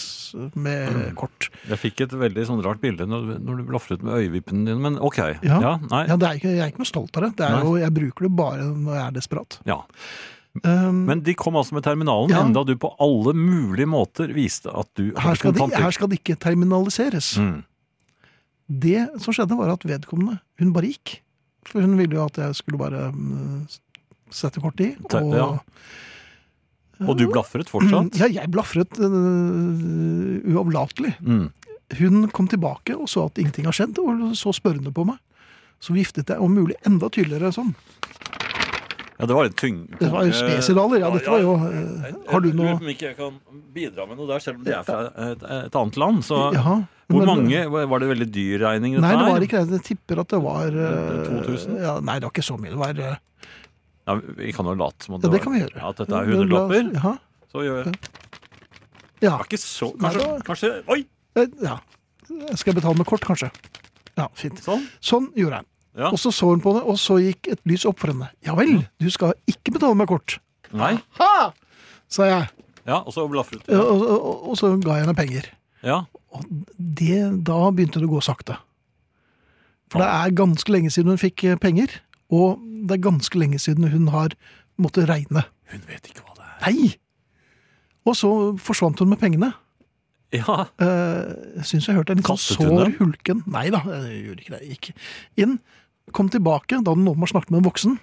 B: med
C: Mm.
B: kort.
C: Jeg fikk et veldig sånn rart bilde når, når du blafret med øyevippene dine, men OK. Ja,
B: Ja.
C: nei.
B: Ja, det er ikke, jeg er ikke noe stolt av det. det er
C: Nei.
B: jo, jeg bruker det bare når jeg er desperat.
C: Ja.
B: Um,
C: Men de kom altså med terminalen,
B: Ja.
C: enda du på alle mulige måter viste at du
B: her,
C: hadde
B: skal det-
C: kontanter.
B: her skal det ikke terminaliseres.
C: Mm.
B: Det som skjedde var at vedkommende, hun bare gikk. For hun ville jo at jeg skulle bare mm, sette kortet i.
C: Te- ja. Og du blafret fortsatt?
B: Ja, jeg blafret øh, uavlatelig.
C: Mm.
B: Hun kom tilbake og så at ingenting har skjedd, og så spørrende på meg. Så viftet jeg om mulig enda tydeligere sånn.
C: Ja, det var litt tyng...
B: Det var jo spesidaler. Ja, dette var jo øh, Har du noe
C: Om ikke jeg kan bidra med noe der, selv om de er fra et, et annet land. Så
B: Jaha,
C: hvor
B: men-
C: mange Var det veldig dyr regning, dette
B: Nei, det
C: her?
B: var ikke det. Jeg tipper at det var øh,
C: 2000?
B: Ja, nei, det var ikke så mye. Det var øh,
C: Ja, vi kan jo late som at
B: Ja, det
C: var-
B: kan vi gjøre.
C: ja, At dette er hundrelapper.
B: Ja.
C: Så gjør det
B: ja.
C: er ikke så
B: Nei,
C: Kanskje,
B: det
C: kanskje Oi!
B: Eh, Ja. Skal jeg betale med kort, kanskje? Ja, fint.
C: Sånn.
B: Sånn gjorde jeg.
C: Ja.
B: Og så så hun på det, og så gikk et lys opp for henne. Ja vel, du skal ikke betale med kort,
C: Nei.
B: sa jeg.
C: Ja, og så blafret
B: Og,
C: du.
B: og, og, og så ga jeg henne penger.
C: Ja.
B: Og det, da begynte det å gå sakte. For det er ganske lenge siden hun fikk eh, penger, og det er ganske lenge siden hun har måttet regne.
C: Hun vet ikke hva det er.
B: Nei! Og så forsvant hun med pengene.
C: Ja.
B: Eh, Jeg syns jeg hørte en litt sånn
C: Kastet hun
B: sår
C: dem?
B: hulken Nei da, jeg gjorde ikke det. Jeg Gikk inn. Kom tilbake da den må snakket med en voksen.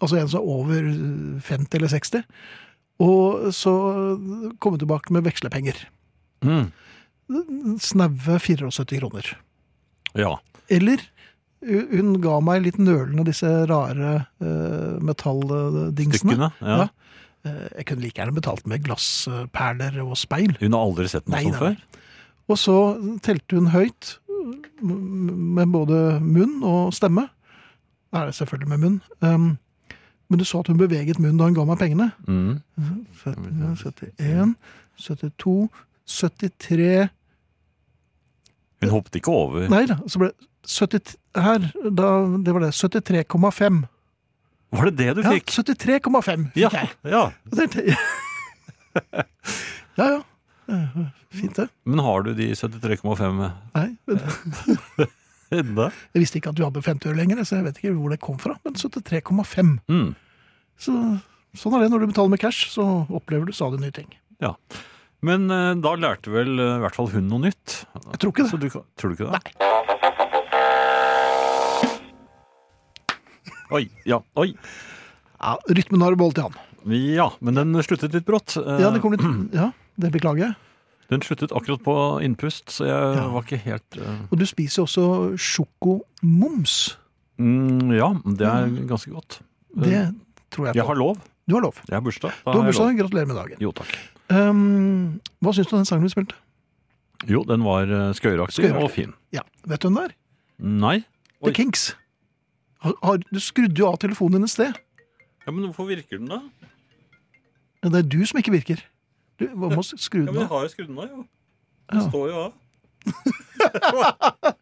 B: Altså en som er over eh, 50 eller 60. Og så kom hun tilbake med vekslepenger.
C: Mm.
B: Snaue 74 kroner.
C: Ja.
B: Eller hu- hun ga meg litt nølende disse rare eh, metalldingsene.
C: Dykkene. Ja.
B: Ja. Eh, jeg kunne like gjerne betalt med glassperler og speil.
C: Hun har aldri sett noe
B: Nei,
C: sånt
B: nei,
C: før?
B: Og så telte hun høyt, m- med både munn og stemme. Nei, det er selvfølgelig med munn. Um, men du så at hun beveget munnen da hun ga meg pengene.
C: Mm.
B: 70, 71, 72, 73
C: Hun hoppet ikke over.
B: Nei da, så ble det 70, her, da, det var det. 73,5.
C: Var det det du
B: Ja,
C: fikk?
B: 73,5 fikk
C: Ja.
B: jeg.
C: ja.
B: Og det tenkte jeg- ja, ja. Eh, Fint, det.
C: Men har du de 73,5
B: Nei, men
C: ennå?
B: Jeg visste ikke at du hadde 50 øre lenger, så jeg vet ikke hvor det kom fra, men 73,5.
C: Mm.
B: Så sånn er det når du betaler med cash, så opplever du stadig nye ting.
C: Men eh, da lærte vel eh, i hvert fall hun noe nytt?
B: Jeg tror ikke
C: Så
B: det.
C: du, kan- tror du ikke det? Oi, ja, oi.
B: Ja, rytmen har du beholdt i han.
C: Ja, men den sluttet litt brått. Eh,
B: Ja, det kom litt Ja, det beklager jeg.
C: Den sluttet akkurat på innpust, så jeg
B: Ja.
C: var ikke helt eh,
B: Og du spiser jo også sjokomums.
C: mm, Ja, det er ganske godt. Eh,
B: Det tror jeg
C: Jeg
B: på.
C: har lov.
B: Du har lov.
C: Jeg har bursdag. Da
B: Du har
C: jeg lov.
B: bursdag. Gratulerer med dagen.
C: Jo, takk.
B: Um, hva syns du om den sangen vi spilte?
C: Jo, den var eh, skøyeraktig
B: Skøyeraktig.
C: og fin.
B: Ja, vet du hvem det er?
C: Nei. Oi.
B: The Kinks. Har, har, du skrudde jo av telefonen din et sted.
C: Ja, Men hvorfor virker den, da?
B: Men Det er du som ikke virker. Du hva må skru
D: Ja,
B: den
D: men jeg
B: av.
D: har jo skrudd den av, jo. Den
B: Ja.
D: står jo av.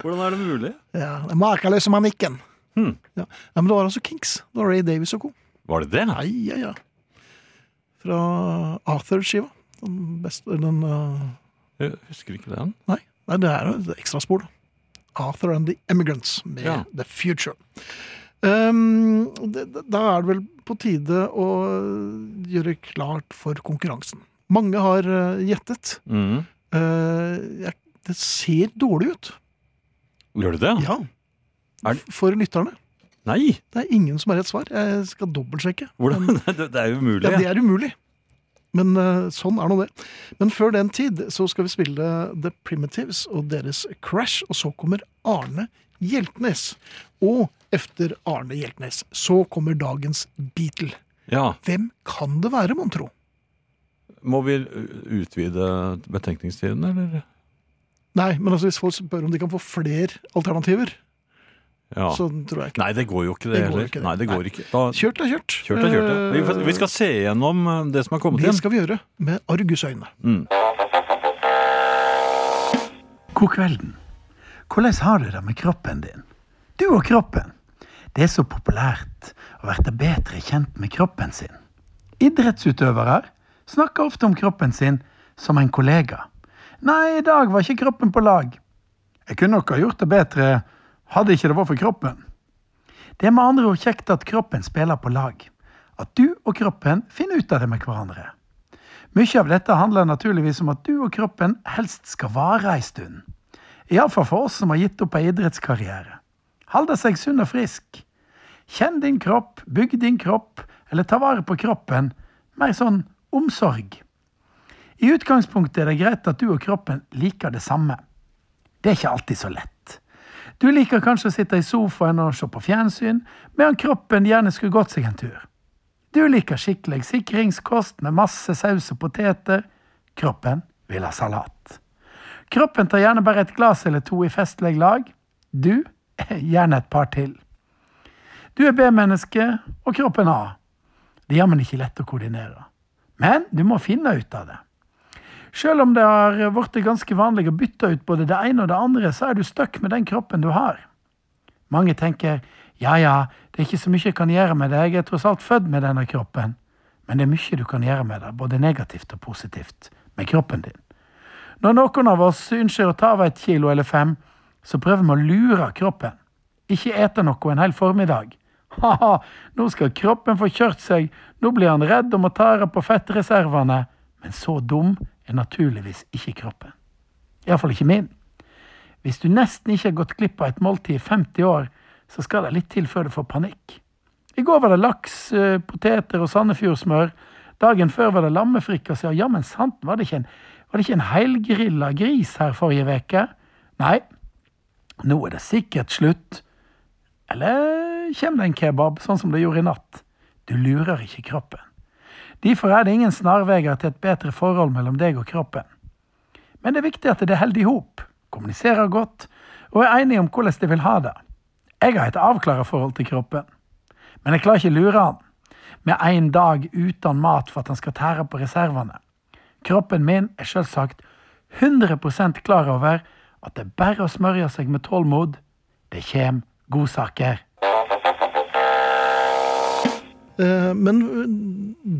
C: Hvordan er det mulig?
B: Ja, den Makeløse manikken.
C: Hmm.
B: Ja. ja, Men det var altså Kings. Det var Ray Davies og co.
C: Var det det?
B: Ai, ja, ja. Fra Arthur-skiva. Den beste den, eh,
C: Jeg husker ikke den.
B: Nei, nei det er jo et ekstraspor, da. Arthur and the Emigrants med
C: Ja.
B: The Future. Ehm, det, det- da er det vel på tide å gjøre klart for konkurransen. Mange har eh, gjettet.
C: Mm.
B: Eh, jeg, det ser dårlig ut.
C: Gjør det det?
B: Ja.
C: Er det-
B: For lytterne.
C: Nei!
B: Det er ingen som har rett svar. Jeg skal dobbeltsjekke.
C: Hvordan? Det, det er jo umulig.
B: Ja, det er umulig. Men eh, sånn er nå det. Men før den tid så skal vi spille The Primitives og deres Crash, og så kommer Arne Hjeltnes. Og efter Arne Hjeltnes så kommer dagens Beatle.
C: ja.
B: Hvem kan det være, mon tro?
C: Må vi eh, utvide betenkningstiden, eller?
B: Nei, men altså hvis folk spør om de kan få flere alternativer,
C: Ja.
B: så tror jeg ikke
C: Nei, det går jo ikke, det
B: Det går
C: heller.
B: ikke det.
C: Nei, det går ikke. Da,
B: Kjørt Eh, er kjørt.
C: kjørt er kjørt, ja. Vi, får- vi skal se gjennom eh, det som har kommet
B: Det
C: inn.
B: skal vi gjøre med argusøyne.
E: God kvelden. Hvordan har du det med kroppen din? Du og kroppen. Det er så populært å bli bedre kjent med kroppen sin. Idrettsutøvere snakker ofte om kroppen sin som en kollega. Nei, i dag var ikke kroppen på lag. Jeg kunne nok ha gjort det bedre hadde ikke det vært for kroppen. Det er med andre ord kjekt at kroppen spiller på lag. At du og kroppen finner ut av det med hverandre. Mye av dette handler naturligvis om at du og kroppen helst skal vare ei stund. Iallfall for oss som har gitt opp ei idrettskarriere. Holde seg sunn og frisk. Kjenn din kropp, bygg din kropp, eller ta vare på kroppen. Mer sånn omsorg. I utgangspunktet er det greit at du og kroppen liker det samme. Det er ikke alltid så lett. Du liker kanskje å sitte i sofaen og se på fjernsyn, medan kroppen gjerne skulle gått seg en tur. Du liker skikkelig sikringskost med masse saus og poteter. Kroppen vil ha salat. Kroppen tar gjerne bare et glass eller to i festlig lag. Du gjerne et par til. Du er B-menneske, og kroppen A. Det er jammen ikke lett å koordinere. Men du må finne ut av det. Selv om det har blitt ganske vanlig å bytte ut både det ene og det andre, så er du stuck med den kroppen du har. Mange tenker ja ja, det er ikke så mye jeg kan gjøre med det, jeg er tross alt født med denne kroppen. Men det er mye du kan gjøre med det, både negativt og positivt, med kroppen din. Når noen av oss ønsker å ta av et kilo eller fem, så prøver vi å lure kroppen. Ikke ete noe en hel formiddag. Ha-ha, nå skal kroppen få kjørt seg, nå blir han redd og må tære på fettreservene. Men så dum er naturligvis ikke kroppen. Iallfall ikke min. Hvis du nesten ikke har gått glipp av et måltid i 50 år, så skal det litt til før du får panikk. I går var det laks, eh, poteter og Sandefjordsmør. Dagen før var det lammefrikassé, og jammen sant, var det ikke en, var det ikke en helgrilla gris her forrige uke? Nei, nå er det sikkert slutt. Eller kommer det en kebab, sånn som det gjorde i natt? Du lurer ikke kroppen. Derfor er det ingen snarveier til et bedre forhold mellom deg og kroppen. Men det er viktig at det er holder i hop, kommuniserer godt og er enige om hvordan de vil ha det. Jeg har et avklara forhold til kroppen, men jeg klarer ikke lure han med en dag uten mat for at han skal tære på reservene. Kroppen min er selvsagt 100 klar over at det er bare å smørje seg med tålmod. Det kjem godsaker.
B: Eh, Men eh,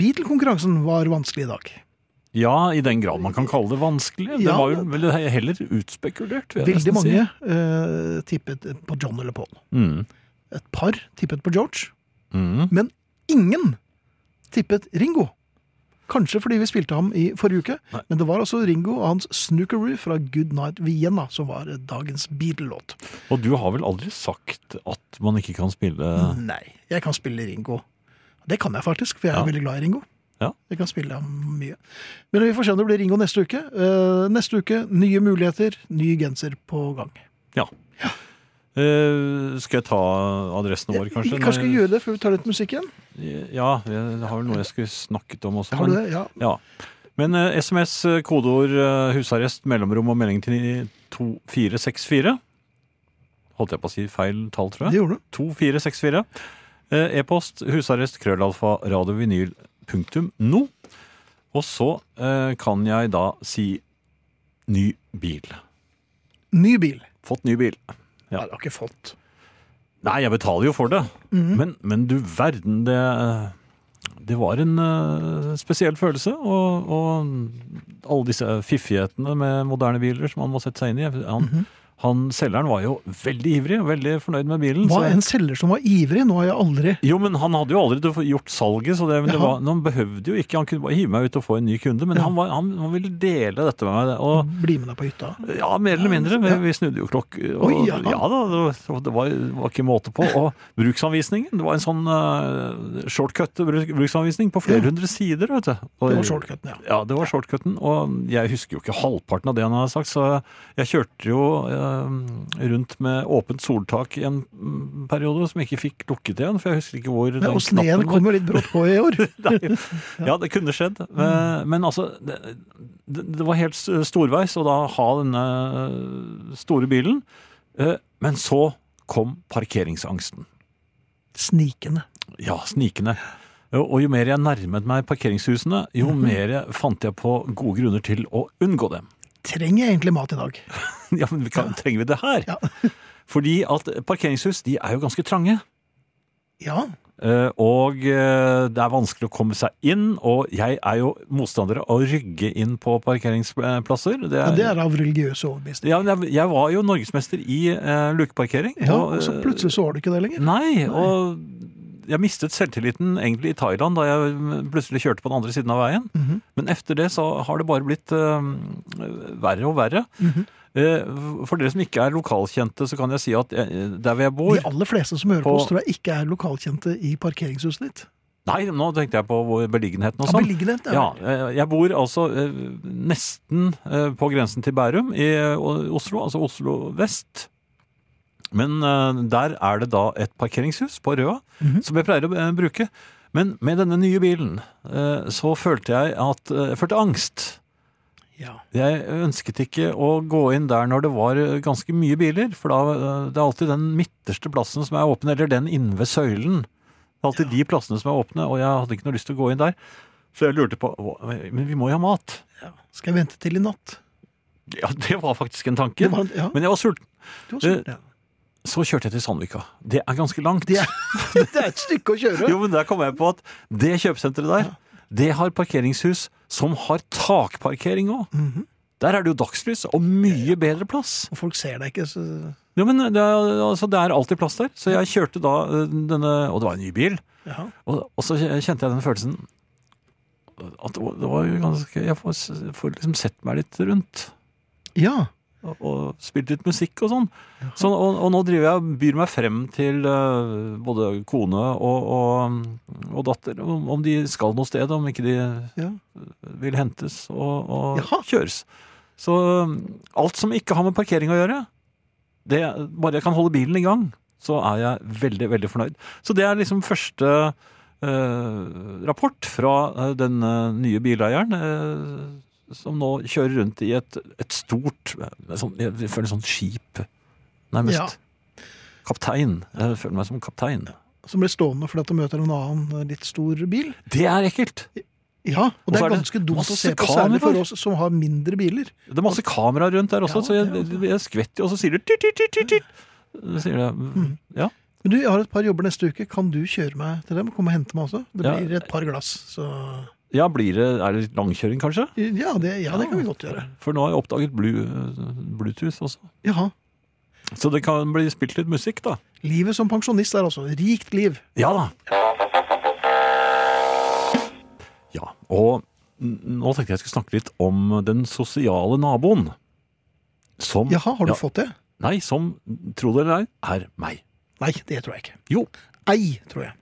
B: Beatle-konkurransen var vanskelig i dag.
C: Ja, i den grad man kan kalle det vanskelig. Det
B: Ja.
C: var jo vel heller utspekulert. vil jeg
B: Veldig
C: nesten si.
B: mange eh, tippet på John eller Paul.
C: Mm.
B: Et par tippet på George,
C: Mm.
B: men ingen tippet Ringo. Kanskje fordi vi spilte ham i forrige uke,
C: Nei.
B: men det var altså Ringo og hans Snookeroo fra Good Night Vienna som var eh, dagens Beatle-låt.
C: Og du har vel aldri sagt at man ikke kan spille
B: Nei, jeg kan spille Ringo. Det kan jeg faktisk, for jeg er
C: Ja.
B: veldig glad i Ringo.
C: Ja.
B: Jeg kan spille ham mye. Men vi får se om det blir Ringo neste uke. Eh, neste uke, nye muligheter, ny genser på gang.
C: Ja. Eh, skal jeg ta adressene våre, kanskje? eh,
B: vi kanskje skal gjøre det før vi tar litt musikk igjen?
C: Ja, jeg har vel noe jeg skulle snakket om også.
B: Har du
C: men-
B: det? Ja.
C: Ja. Men eh, SMS, eh, kodeord, eh, husarrest, mellomrom og melding til 2464. Holdt jeg på å si feil tall, tror
B: Det
C: jeg.
B: gjorde du.
C: 2464. Eh, E-post husarrest krøllalfa radiovinyl punktum no. Og så eh, kan jeg da si ny bil.
B: Ny bil.
C: Fått ny bil. Ja.
B: Nei, det har ikke fått.
C: Nei, jeg betaler jo for det. men, men du verden, det Det var en eh, spesiell følelse. Og, og alle disse fiffighetene med moderne biler som han må sette seg inn i. Han, han Selgeren var jo veldig ivrig og veldig fornøyd med bilen.
B: Hva
C: så-
B: en selger som var ivrig, nå har jeg aldri
C: jo, men han hadde jo aldri gjort salget, så det, men det
B: Ja.
C: var, han behøvde jo ikke. Han kunne bare hive meg ut og få en ny kunde, men
B: Ja.
C: han, var, han, han ville dele dette med meg. Og,
B: bli med deg på hytta.
C: ja, mer eller mindre. Vi, vi snudde jo klokk. Og,
B: Oi, ja.
C: ja. da, det var- det var, det var ikke måte på. Og bruksanvisningen, det var en sånn uh, shortcut bruk- bruksanvisning på flere hundre sider, vet du. Og-
B: Det var shortcuten, ja.
C: Ja, det var shortcutten, og jeg husker jo ikke halvparten av det han hadde sagt, så jeg kjørte jo eh, rundt med åpent soltak i en mm, periode som jeg ikke fikk lukket igjen, for jeg husker ikke hvor
B: Men, og sneen
C: var.
B: kom jo litt brått på i år.
C: Nei. Ja, det kunne skjedd. Men, men altså, det, det det var helt s- storveis å da ha denne store bilen. Eh, Men så kom parkeringsangsten.
B: Snikende.
C: Ja, snikende. Og og jo mer jeg nærmet meg parkeringshusene, jo mer fant jeg på gode grunner til å unngå dem.
B: Trenger jeg egentlig mat i dag?
C: Ja, men vi kan, trenger vi det her?
B: Ja.
C: Fordi at parkeringshus, de er jo ganske trange.
B: Ja.
C: Eh, Og eh, det er vanskelig å komme seg inn, og jeg er jo motstander av å rygge inn på parkeringsplasser. Det
B: Men det er av religiøse overbevisninger.
C: ja, men jeg, jeg var jo norgesmester i eh, lukeparkering.
B: Ja,
C: og,
B: og så
C: eh,
B: plutselig så var det ikke det lenger.
C: Nei, og jeg mistet selvtilliten egentlig i Thailand da jeg mm, plutselig kjørte på den andre siden av veien.
B: Mhm.
C: Men efter det så har det bare blitt eh, verre og verre.
B: Mhm.
C: Eh, for dere som ikke er lokalkjente, så kan jeg si at eh, der hvor jeg bor
B: De aller fleste som hører på
C: På-
B: oss, tror jeg ikke er lokalkjente i parkeringshuset ditt.
C: Nei, nå tenkte jeg på hvor beliggenheten og
B: Ja,
C: sånn.
B: beliggenhet, ja.
C: Ja, eh, jeg bor altså eh, nesten eh, på grensen til Bærum i eh, Oslo, altså Oslo vest. Men eh, der er det da et parkeringshus på Røa,
B: Mhm.
C: som jeg pleier å eh, bruke. Men med denne nye bilen eh, så følte jeg at eh, Jeg følte angst.
B: ja.
C: Jeg ønsket ikke å gå inn der når det var eh, ganske mye biler, for da eh, det er alltid den midterste plassen som er åpen, eller den inne ved søylen. Det er alltid de plassene som er åpne, og jeg hadde ikke noe lyst til å gå inn der. Så jeg lurte på hva- Men vi må jo ha mat.
B: Ja. Skal jeg vente til i natt?
C: Ja, det var faktisk en
B: Det
C: tanke.
B: var, ja,
C: Men eh, jeg var sulten.
B: det var sånn, ja.
C: Så kjørte jeg til Sandvika. Det er ganske langt.
B: Det er, det er et stykke å kjøre.
C: Jo, men der kom jeg på at det kjøpesenteret der, det har parkeringshus som har takparkering òg.
B: Mhm.
C: Der er det jo dagslys og mye bedre plass.
B: Og folk ser deg ikke, så
C: Jo, men det er, altså, det er alltid plass der. Så jeg kjørte da eh, denne Og det var en ny bil.
B: ja.
C: Og, og så kjente jeg den følelsen at det var- det var jo ganske Jeg får, får liksom sett meg litt rundt.
B: ja.
C: og, og spilt litt musikk og sånn. sånn og, og nå driver jeg og byr meg frem til eh, både kone og, og, og datter om, om de skal noe sted, om ikke de
B: Ja.
C: vil hentes og, og
B: Jaha.
C: kjøres. Så eh, alt som ikke har med parkering å gjøre, det, bare jeg kan holde bilen i gang, så er jeg veldig, veldig fornøyd. Så det er liksom første eh, rapport fra eh, den eh, nye bileieren, eh, som nå kjører rundt i et, et stort eh, sånn, Jeg føler sånn skip, nærmest.
B: Ja.
C: Kaptein. Jeg føler meg som kaptein.
B: Som blir stående fordi at du møter en annen eh, litt stor bil.
C: Det er ekkelt!
B: Ja, og
C: Og
B: det
C: så
B: er
C: er det
B: ganske dumt å
C: masse
B: se på, særlig for
C: kameraer.
B: oss som har mindre biler.
C: Det er masse kameraer rundt der også,
B: Ja,
C: så jeg,
B: det er
C: jeg skvetter, og så sier det tyt, tyt, tyt, tyt, tyt. Så Sier det,
B: Mm.
C: ja.
B: Men du, jeg har et par jobber neste uke. Kan du kjøre meg til dem? Komme og hente meg også? Det
C: Ja.
B: blir et par glass, så
C: ja, blir det Er det langkjøring, kanskje?
B: Ja, det, ja, det kan vi godt gjøre.
C: For nå har jeg oppdaget blu, Bluetooth også.
B: Jaha.
C: Så det kan bli spilt litt musikk, da.
B: Livet som pensjonist er altså rikt liv.
C: Ja da. Ja, og n- nå tenkte jeg skulle snakke litt om den sosiale naboen. Som
B: Jaha, har du
C: Mm. Ja,
B: fått det?
C: Nei, som, tro det eller ei, er meg.
B: Nei, det tror jeg ikke.
C: Jo.
B: Ei, tror jeg.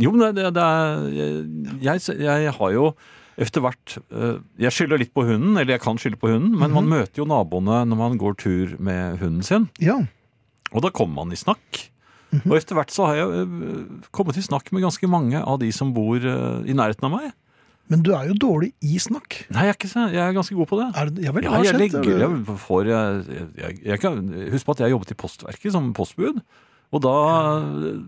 C: Jo, men det, det, det er jeg, jeg har jo etter hvert eh, Jeg skylder litt på hunden, eller jeg kan skylde på hunden, men
B: Mhm.
C: man møter jo naboene når man går tur med hunden sin.
B: Ja.
C: Og da kommer man i snakk.
B: Mhm.
C: Og etter hvert så har jeg eh, kommet i snakk med ganske mange av de som bor eh, i nærheten av meg.
B: Men du er jo dårlig i snakk.
C: Nei, jeg er, ikke, så- jeg er ganske god på det.
B: Er, det- ja vel,
C: Ja,
B: har
C: jeg
B: sett det.
C: legger jeg får, jeg, jeg, jeg kan, Husk på at jeg jobbet i Postverket som postbud. Og da,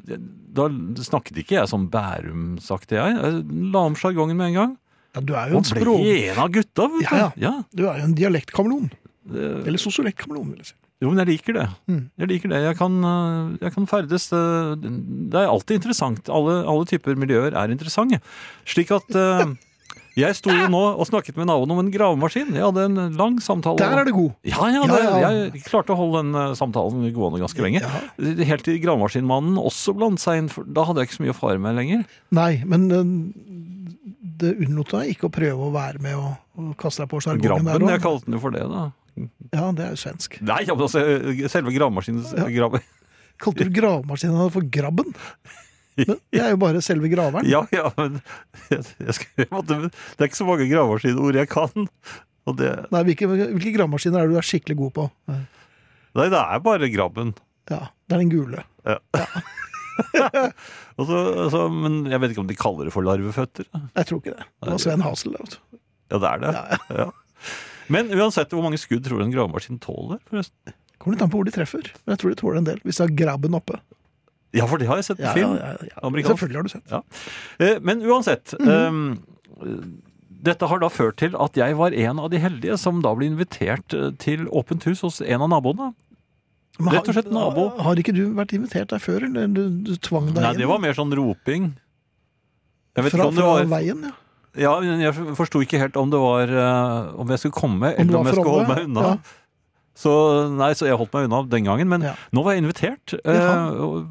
C: da snakket ikke jeg som Bærum, sakte jeg. Jeg la om sjargongen med en gang.
B: Ja, du er jo
C: Han
B: en
C: ble
B: språk...
C: en av gutta, vet
B: Ja,
C: du.
B: ja.
C: ja.
B: Du er jo en dialektkameleon.
C: det-
B: Eller sosiolekt-kameleon, vil jeg si.
C: Jo, men jeg liker det.
B: Mm.
C: Jeg liker det. Jeg kan, øh, jeg kan ferdes øh, Det er alltid interessant. Alle, alle typer miljøer er interessante. Slik at øh, Jeg sto jo nå og snakket med naboen om en gravemaskin. Jeg hadde en lang samtale.
B: Der er du god.
C: Ja, ja, det,
B: Ja, ja.
C: Jeg klarte å holde den øh, samtalen gående ganske lenge.
B: Ja.
C: Helt til gravemaskinmannen også blandet seg inn. For da hadde jeg ikke så mye å fare med lenger.
B: Nei, men eh, det unnlot deg ikke å prøve å være med og, og kaste deg på sjargongen der
C: Grabben, jeg
B: òg.
C: kalte den jo for det, da.
B: Ja, det er jo svensk.
C: Nei, ja, men altså, selve gravemaskinens
B: Ja.
C: grav...
B: Kalte du gravemaskinen for Grabben? Men det er jo bare selve graveren.
C: Ja, ja, men jeg, jeg skal, jeg måtte, det er ikke så mange gravemaskinord jeg kan. Og det,
B: Nei, hvilke, hvilke gravemaskiner er det du er skikkelig god på?
C: nei, det er bare grabben.
B: Ja, Det er den gule.
C: Og så- altså, men jeg vet ikke om de kaller det for larveføtter.
B: Jeg tror ikke det. Det var Sven Hasel. det, vet du.
C: Ja, det er det. Ja. Men uansett, hvor mange skudd tror du en gravemaskin tåler? forresten?
B: Kommer litt an på hvor de treffer. Men jeg tror de tåler en del, hvis de har grabben oppe.
C: Ja, for det har jeg sett på
B: Ja,
C: film.
B: ja, ja, ja.
C: Amerikansk.
B: Selvfølgelig Mhm. har du sett.
C: Eh, Men uansett. ehm, dette har da ført til at jeg var en av de heldige som da ble invitert eh, til åpent hus hos en av naboene.
B: Men
C: Rett og slett nabo.
B: Har, har ikke du vært invitert der før, eller du, du tvang deg
C: Nei,
B: inn?
C: det var mer sånn roping. Jeg vet
B: fra,
C: ikke om det
B: fra
C: var
B: veien, ja.
C: Ja, men jeg forsto ikke helt om det var eh, Om jeg skulle komme,
B: du
C: eller
B: var
C: om jeg
B: framme,
C: skulle holde meg unna.
B: ja.
C: Så nei, så jeg holdt meg unna den gangen, men
B: Ja.
C: nå var jeg invitert. eh,
B: Jaha.
C: og,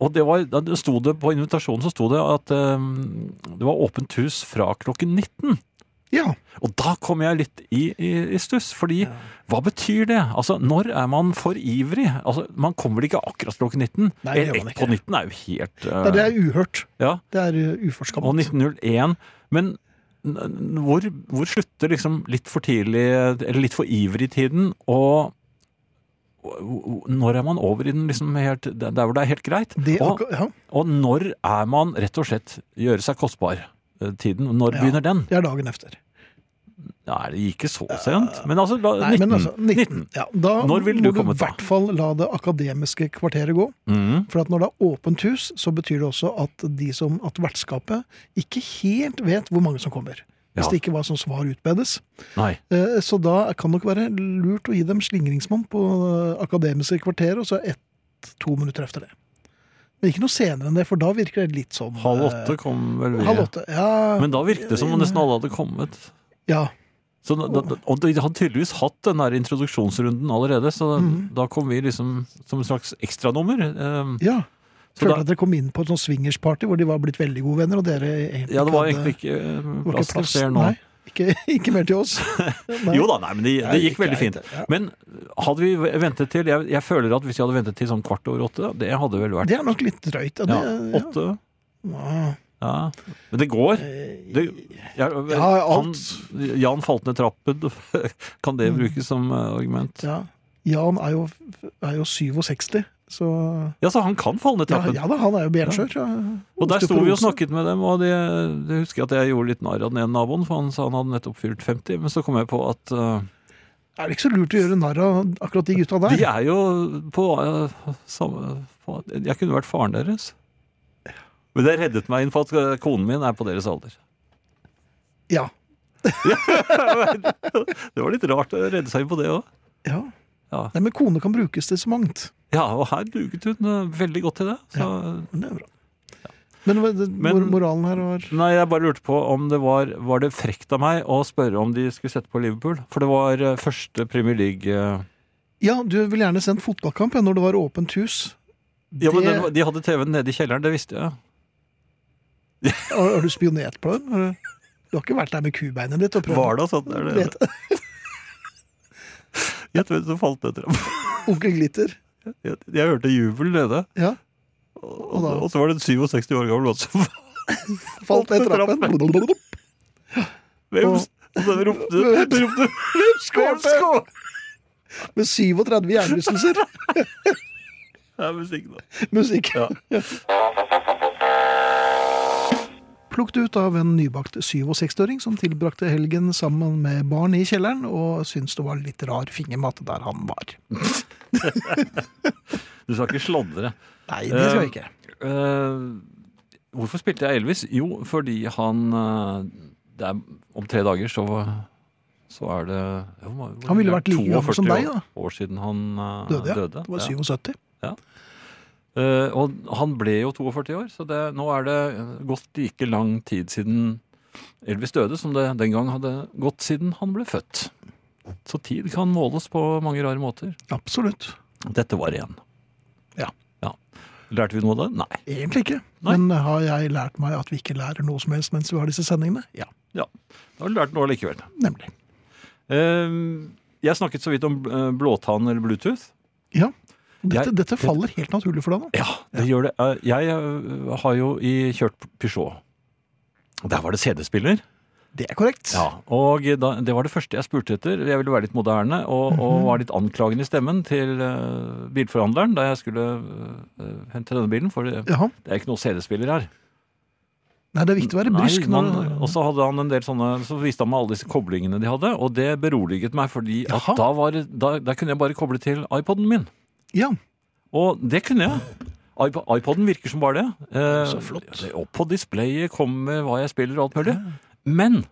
C: og det var, da sto det på invitasjonen så sto det at eh, det var åpent hus fra klokken 19.
B: ja.
C: Og da kom jeg litt i, i, i stuss, fordi hva betyr det? Altså, når er man for ivrig? Altså, man kommer vel ikke akkurat klokken 19?
B: Nei, det gjør
C: Ett
B: man
C: på
B: ikke.
C: 19 er jo helt eh,
B: Nei, Det er uhørt.
C: ja.
B: Det er uh, uforskammet.
C: Og 1901. Men n- n- hvor, hvor slutter liksom litt for tidlig, eller litt for ivrig tiden, og og- og når er man over i den liksom helt, der der hvor det er helt greit?
B: Det,
C: Og,
B: akkur- ja,
C: og når er man rett og slett gjøre seg kostbar? eh, Tiden, når
B: Ja.
C: begynner den?
B: det er dagen efter.
C: Nei, det gikk ikke så sent. Men altså, la,
B: Eh, Nei,
C: 19.
B: men altså, 19.
C: 19.
B: Ja, da
C: Når vil du
B: må
C: komme
B: du i
C: til?
B: hvert fall la det akademiske kvarteret gå.
C: Mm.
B: For at når det er åpent hus, så betyr det også at, de som, at vertskapet ikke helt vet hvor mange som kommer. Hvis
C: Ja.
B: det ikke var sånn svar utbedes.
C: Nei.
B: Eh, Så da kan det nok være lurt å gi dem slingringsmonn på eh, akademiske kvarteret, og så ett-to minutter efter det. Men ikke noe senere enn det, for da virker det litt sånn
C: Halv
B: eh,
C: åtte kom vel vi.
B: Halv åtte, ja.
C: Men da virket det som om nesten alle hadde kommet.
B: ja.
C: Så da, da, og de hadde tydeligvis hatt den der introduksjonsrunden allerede, så
B: Mhm.
C: da kom vi liksom som et slags ekstranummer. Eh,
B: ja.
C: Så
B: Følte
C: da-
B: at dere kom inn på et sånt swingersparty hvor de var blitt veldig gode venner, og dere egentlig
C: Ja, det var
B: ikke hadde-
C: egentlig ikke eh,
B: det var
C: plass til flere nå.
B: Nei, ikke, ikke mer til oss. Nei.
C: Jo da, nei, men det, det
B: Nei,
C: gikk
B: greit,
C: veldig fint.
B: ja.
C: Men hadde vi ventet til Jeg, jeg føler at hvis vi hadde ventet til sånn kvart over åtte, det hadde vel vært
B: Det er nok litt drøyt. Ja,
C: ja,
B: det, ja.
C: åtte.
B: Ja.
C: Ja. Men det går.
B: Eh,
C: Det, jeg,
B: Ja,
C: han,
B: alt. Mm.
C: Jan falt ned trappen. Kan det brukes som eh, argument?
B: ja. Jan er jo, er jo 67, så
C: Ja, så han kan falle ned
B: ja,
C: trappen.
B: ja da, han er jo benskjør. Ja.
C: Og der sto vi og
B: Osteoporose.
C: snakket med dem, og de, de husker jeg at jeg gjorde litt narr av den ene naboen, for han sa han hadde nettopp fylt 50, men så kom jeg på at eh,
B: Er det ikke så lurt å gjøre narr av akkurat de gutta der?
C: de er jo på eh, samme på, Jeg kunne vært faren deres. Men det reddet meg inn for at eh, konen min er på deres alder.
B: Ja.
C: Det var litt rart å redde seg inn på det òg.
B: ja.
C: Ja.
B: Nei, men kone kan brukes til så mangt.
C: ja, og her duget hun eh, veldig godt til det. Så,
B: Men det er bra. Men, hva- det,
C: Men-
B: mor- moralen her var
C: Nei, jeg bare lurte på om det var Var det frekt av meg å spørre om de skulle sette på Liverpool? For det var eh, første Premier League eh,
B: Ja, du ville gjerne sendt fotballkamp ja, når det var åpent hus.
C: Ja, men
B: Det-
C: den, var- De hadde TV-en nede i kjelleren, det visste jeg.
B: Har, har du spionert på dem? Har du- Du har ikke vært der med kubeinet ditt og prøvd?
C: Var det sånn? Er det,
B: Vet-
C: gjett hvem som falt ned trappa.
B: Onkel Glitter.
C: Jeg, jeg hørte jubel nede,
B: Ja.
C: og,
B: da?
C: og så var det en 67 år gammel mann som
B: Falt ned trappen.
C: Hvem?
B: Og-
C: Og så ropte ropte Hvem skål, skål!
B: Med 37 hjernerystelser.
C: Det er musikk, da.
B: Musikk.
C: Ja.
B: Plukket ut av en nybakt 67-åring som tilbrakte helgen sammen med barn i kjelleren, og syntes det var litt rar fingermat der han var.
C: Du skal ikke sladre.
B: Nei,
C: det skal vi
B: ikke.
C: Eh, hvorfor spilte jeg Elvis? Jo, fordi han eh, det er, om tre dager så, så er det jo, hvor-
B: Han ville vært like gammel
C: 42
B: som deg, da.
C: År siden han eh,
B: Døde, ja.
C: døde.
B: Det var
C: Ja.
B: 77.
C: Eh, og han ble jo 42 år, så det, nå er det gått like lang tid siden Elvis døde som det den gang hadde gått siden han ble født. Så tid kan måles på mange rare måter.
B: Absolutt.
C: Dette var én.
B: Ja.
C: Lærte vi noe av det? Nei.
B: Egentlig ikke.
C: Nei.
B: Men har jeg lært meg at vi ikke lærer noe som helst mens vi har disse sendingene? Ja,
C: Da har du lært noe likevel.
B: nemlig.
C: Eh, jeg snakket så vidt om eh, blåtann eller Bluetooth.
B: Dette,
C: Jeg-
B: dette faller helt naturlig for deg nå.
C: Ja, det gjør det. Eh, Jeg eh, har jo i, kjørt Peugeot. Der var det CD-spiller.
B: Det er korrekt.
C: Ja, og da, Det var det første jeg spurte etter. Jeg ville være litt moderne og,
B: Mhm.
C: og var litt anklagende i stemmen til eh, bilforhandleren da jeg skulle eh, hente denne bilen, for det,
B: Jaha.
C: det er ikke noen CD-spiller her.
B: Nei, det er viktig å være brysk.
C: Nei,
B: når-
C: man, og så, hadde han en del sånne, så viste han meg alle disse koblingene de hadde, og det beroliget meg, fordi
B: Jaha.
C: at da, var, det- da, da kunne jeg bare koble til iPoden min.
B: Ja,
C: Og det kunne jeg. iP- iPoden virker som bare det. Eh,
B: Så flott.
C: Opp på displayet kommer hva jeg spiller og alt mulig. Men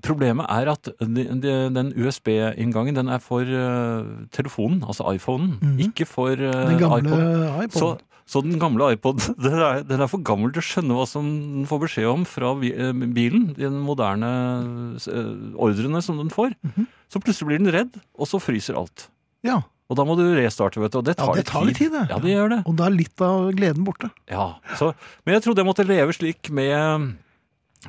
C: problemet er at de- de- den USB-inngangen den er for eh, telefonen, altså iPhonen,
B: Mhm.
C: ikke for eh,
B: den gamle iPoden.
C: iPod. Så, så den gamle iPod den er, den er for gammel til å skjønne hva som den får beskjed om fra vi- eh, bilen. De moderne eh, ordrene som den får.
B: Mhm.
C: Så plutselig blir den redd, og så fryser alt.
B: Ja,
C: Og da må du restarte, vet du. Og det
B: Ja,
C: tar,
B: det tar litt tid, det.
C: Ja, det gjør det.
B: og da er litt av gleden borte.
C: Ja, så, men jeg trodde jeg måtte leve slik med um,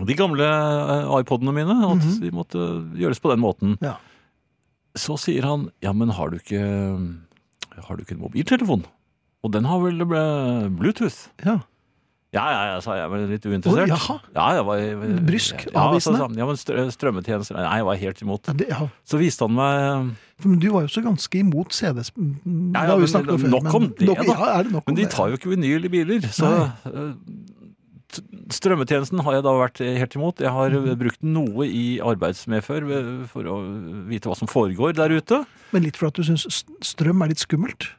C: de gamle eh, iPodene mine, at
B: Mhm.
C: de måtte gjøres på den måten.
B: Ja.
C: Så sier han, ja, men har du ikke, um, har du ikke en mobiltelefon? Og den har vel eh, Bluetooth?
B: Ja.
C: Ja, ja, ja, sa jeg, men litt
B: Å,
C: uinteressert.
B: jaha.
C: ja, jeg var, jeg,
B: Brysk,
C: ja,
B: avvisende.
C: så sa han, ja, men strø- strømmetjenester, nei, jeg var helt imot.
B: Ja, det, ja.
C: Så viste han meg, um,
B: Men du var jo så ganske imot CD
C: Ja, ja,
B: mm, Det har vi
C: men
B: snakket om før.
C: nok om
B: men-
C: det, da.
B: Ja, er det nok om
C: men de
B: det?
C: tar jo ikke vinyl i biler, så... eh, t- Strømmetjenesten har jeg da vært helt imot. Jeg har
B: Mhm.
C: eh, brukt noe i arbeidsmedfør eh, for å vite hva som foregår der ute.
B: Men litt for at du syns strøm er litt skummelt?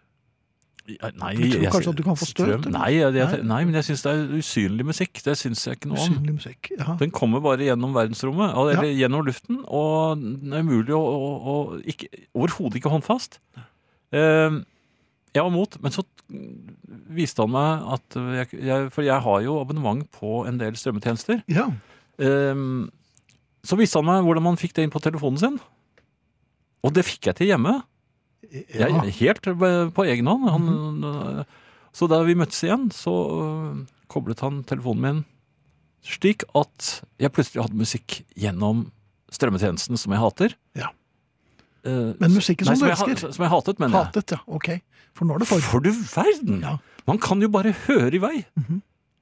C: Ja, Nei,
B: Du tror
C: jeg-
B: kanskje at du kan få støt,
C: strøm-
B: eller?
C: Nei, jeg, jeg, nei, men jeg syns det er usynlig musikk. Det syns jeg ikke noe om.
B: Usynlig musikk. Ja.
C: Den kommer bare gjennom verdensrommet, al-
B: Ja.
C: eller gjennom luften, og den er umulig å, å, å ikke, overhodet ikke håndfast. Eh, jeg var mot, men så viste han meg at jeg, jeg, For jeg har jo abonnement på en del strømmetjenester.
B: ja.
C: Ehm, så viste han meg hvordan man fikk det inn på telefonen sin. Og det fikk jeg til hjemme.
B: ja. Mhm.
C: Jeg, helt eh, på egen hånd. Han, eh, Så da vi møttes igjen, så eh, koblet han telefonen min slik at jeg plutselig hadde musikk gjennom strømmetjenesten som jeg hater.
B: Ja.
C: Eh,
B: Men musikken
C: nei,
B: som du
C: jeg ha-
B: elsker.
C: Som jeg hatet, mener jeg.
B: Hatet, ja. Ok. For nå er det for.
C: For du verden!
B: Ja. Mhm.
C: Man kan jo bare høre i vei.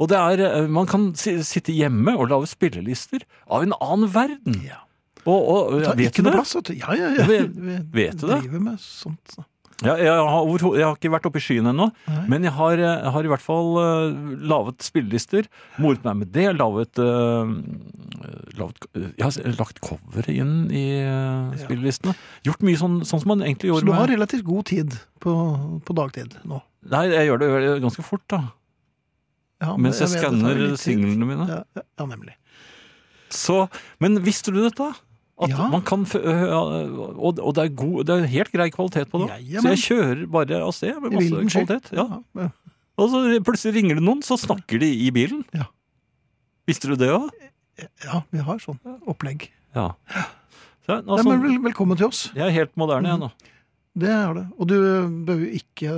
C: Og det er, eh, man kan si, sitte hjemme og lage spillelister av en annen verden.
B: Ja.
C: Og, og
B: Ta
C: ja, vet
B: ikke
C: du
B: noe
C: det?
B: plass, vet du. Ja, ja, ja.
C: Ja, men-
B: Vi
C: vet du det?
B: driver med sånt. så.
C: Ja, jeg, har, overho- jeg har ikke vært oppe i skyen ennå,
B: Nei.
C: men jeg har, eh, har i hvert fall uh, laget spillelister. Moret meg med det. Lavet, eh, lavet Jeg har s- lagt coveret inn i eh,
B: Ja.
C: spillelistene. Gjort mye sånn, sånn som man egentlig
B: Så
C: gjorde
B: du har
C: med
B: relativt god tid på, på dagtid nå.
C: Nei, jeg gjør det eh, ganske fort, da.
B: Ja, men
C: Mens jeg
B: vet det tar
C: skanner
B: litt tid.
C: singlene mine.
B: Ja, ja, ja, nemlig.
C: Så, men visste du dette? At
B: Ja.
C: man kan, f- øh, og og det, er god, det er helt grei kvalitet på det.
B: Jajamän.
C: så jeg kjører bare av sted med
B: I
C: masse
B: vilden sky.
C: kvalitet. Ja.
B: Ja.
C: Og så plutselig ringer det noen, så snakker de i bilen.
B: Ja.
C: Visste du det òg?
B: ja, vi har sånn opplegg.
C: Ja. Så,
B: Nei,
C: altså,
B: men vel, Mm. velkommen til oss.
C: jeg er helt moderne, jeg nå.
B: Det er det. Og du behøver jo ikke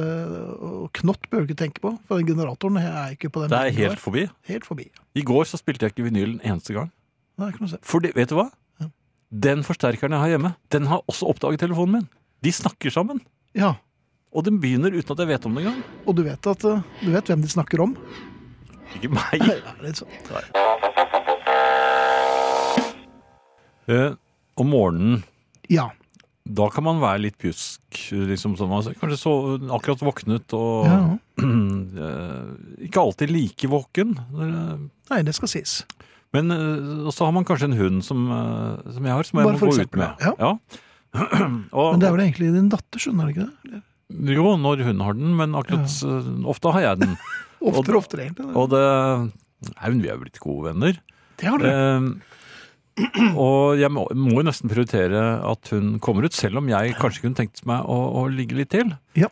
B: Og knott behøver du ikke tenke på, for den generatoren er ikke på den.
C: Det er
B: måten du
C: helt
B: har.
C: forbi.
B: helt forbi.
C: I går så spilte jeg ikke vinyl en eneste gang.
B: Det er ikke noe å se.
C: For det, vet du hva?
B: Ja.
C: Den forsterkeren jeg har hjemme, den har også oppdaget telefonen min. De snakker sammen.
B: Ja,
C: Og den begynner uten at jeg vet om det engang.
B: og du vet at eh, Du vet hvem de snakker om?
C: Ikke meg.
B: Ja, litt sånn.
C: Eh, om morgenen
B: Ja.
C: Da kan man være litt pjusk, liksom sånn. Altså, kanskje så akkurat våknet og
B: ja.
C: eh, Ikke alltid like våken. eh,
B: Nei, det skal sies.
C: Men eh, og så har man kanskje en hund som, eh, som jeg har, som jeg
B: Bare
C: må
B: for
C: gå ut
B: eksempel,
C: med.
B: ja.
C: Og,
B: Men det er vel egentlig din datter, skjønner du ikke det?
C: Jo, når hun har den, men akkurat eh, ofte har jeg den.
B: Oftere og oftere, egentlig.
C: Og det Nei, men vi er jo blitt gode venner.
B: Det har du.
C: Eh, Og jeg må, må jo nesten prioritere at hun kommer ut, selv om jeg kanskje kunne tenkt meg å, å ligge litt til.
B: Ja.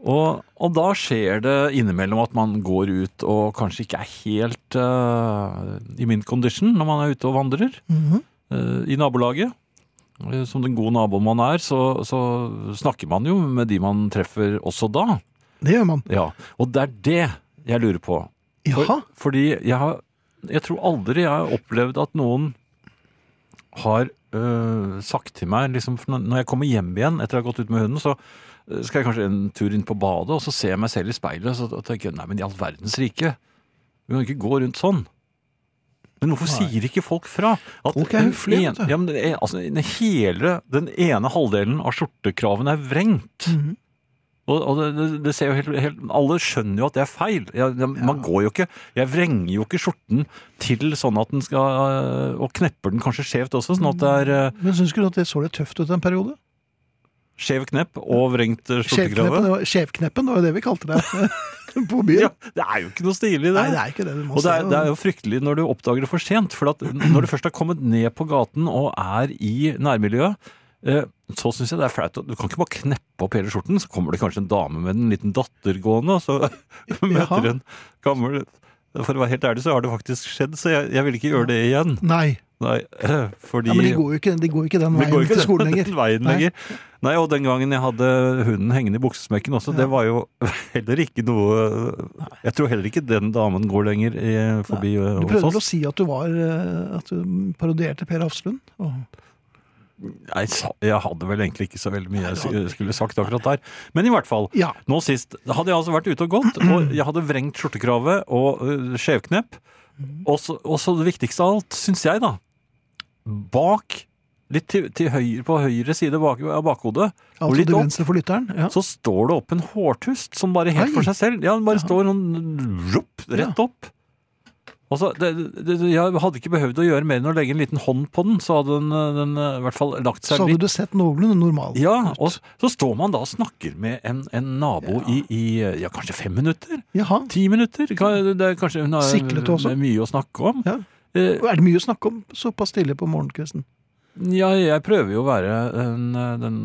C: Og, og da skjer det innimellom at man går ut og kanskje ikke er helt eh, i min condition når man er ute og vandrer
B: Mhm.
C: eh, i nabolaget. Eh, Som den gode naboen man er, så, så snakker man jo med de man treffer også da.
B: Det gjør man.
C: Ja, Og det er det jeg lurer på. For,
B: Jaha.
C: Fordi jeg, har, jeg tror aldri jeg har opplevd at noen har øh, sagt til meg liksom, for Når når jeg kommer hjem igjen etter å ha gått ut med hunden, så øh, skal jeg kanskje en tur inn på badet, og så ser jeg meg selv i speilet og så tenker jeg, nei, men i all verdens rike, vi kan ikke gå rundt sånn. Men hvorfor sier ikke folk fra? At
B: Folk er
C: den
B: høflige,
C: en-
B: vet du.
C: Ja, men det er- altså, den hele den ene halvdelen av skjortekraven er vrengt.
B: Mhm.
C: Og, og det, det, det ser jo helt, helt Alle skjønner jo at det er feil. Jeg, jeg, Man går jo ikke Jeg vrenger jo ikke skjorten til sånn at den skal øh, Og knepper den kanskje skjevt også, sånn at det er øh,
B: Men syns ikke du at det så litt tøft ut en periode?
C: skjev knepp og vrengt øh,
B: Skjevkneppen, det
C: skjortekrave.
B: var- Skjevkneppen, det var jo det vi kalte det på byen.
C: Ja, det er jo ikke noe stilig, det.
B: Nei, det er ikke det. Du må
C: Og det er,
B: se,
C: det er jo fryktelig når du oppdager det for sent. For at når du først har kommet ned på gaten og er i nærmiljøet, eh, så syns jeg det er flaut. at Du kan ikke bare kneppe opp hele skjorten, så kommer det kanskje en dame med en liten datter gående, og så
B: Jaha.
C: møter en gammel For å være helt ærlig, så har det faktisk skjedd, så jeg, jeg vil ikke gjøre det igjen.
B: Nei.
C: Nei, fordi
B: Ja, men de går jo ikke, de går jo ikke den
C: vi går
B: veien
C: ikke
B: til skolen
C: den-
B: lenger.
C: den veien
B: Nei.
C: lenger. Nei, og den gangen jeg hadde hunden hengende i buksesmekken også, det var jo heller ikke noe Jeg tror heller ikke den damen går lenger eh, forbi eh,
B: Du
C: hos
B: prøvde vel å
C: oss.
B: si at du var eh, At du parodierte Per Hafslund? Åh.
C: Nei, sa- jeg hadde vel egentlig ikke så veldig mye jeg
B: du hadde
C: skulle- skulle sagt akkurat der. Men i hvert fall.
B: Ja.
C: Nå sist hadde jeg altså vært ute og gått, og jeg hadde vrengt skjortekravet og eh, skjevknepp.
B: Mhm.
C: Og så, og så det viktigste av alt, syns jeg, da. Bak, litt til, til høyre, på høyre side bak, av bakhodet, og
B: Altså
C: litt
B: til
C: opp,
B: venstre for lytteren? Ja.
C: så står det opp en hårtust som bare helt
B: Oi.
C: for seg selv. Ja, den bare står sånn rupp, rett opp. Og så, det, det, jeg hadde ikke behøvd å gjøre mer enn å legge en liten hånd på den, så hadde den, eh, den eh, i hvert fall lagt
B: Så
C: seg
B: hadde
C: litt.
B: du sett noenlunde normal
C: Ja,
B: ut.
C: og s- så står man da og snakker med en, en nabo i, i eh, ja, kanskje fem minutter?
B: Jaha.
C: Ti minutter? Ka- Det er kanskje hun har
B: Siklet også?
C: det er mye å snakke om.
B: Ja.
C: Eh,
B: Er det mye å snakke om såpass tidlig på morgenkvisten?
C: Ja, jeg prøver jo å være den, den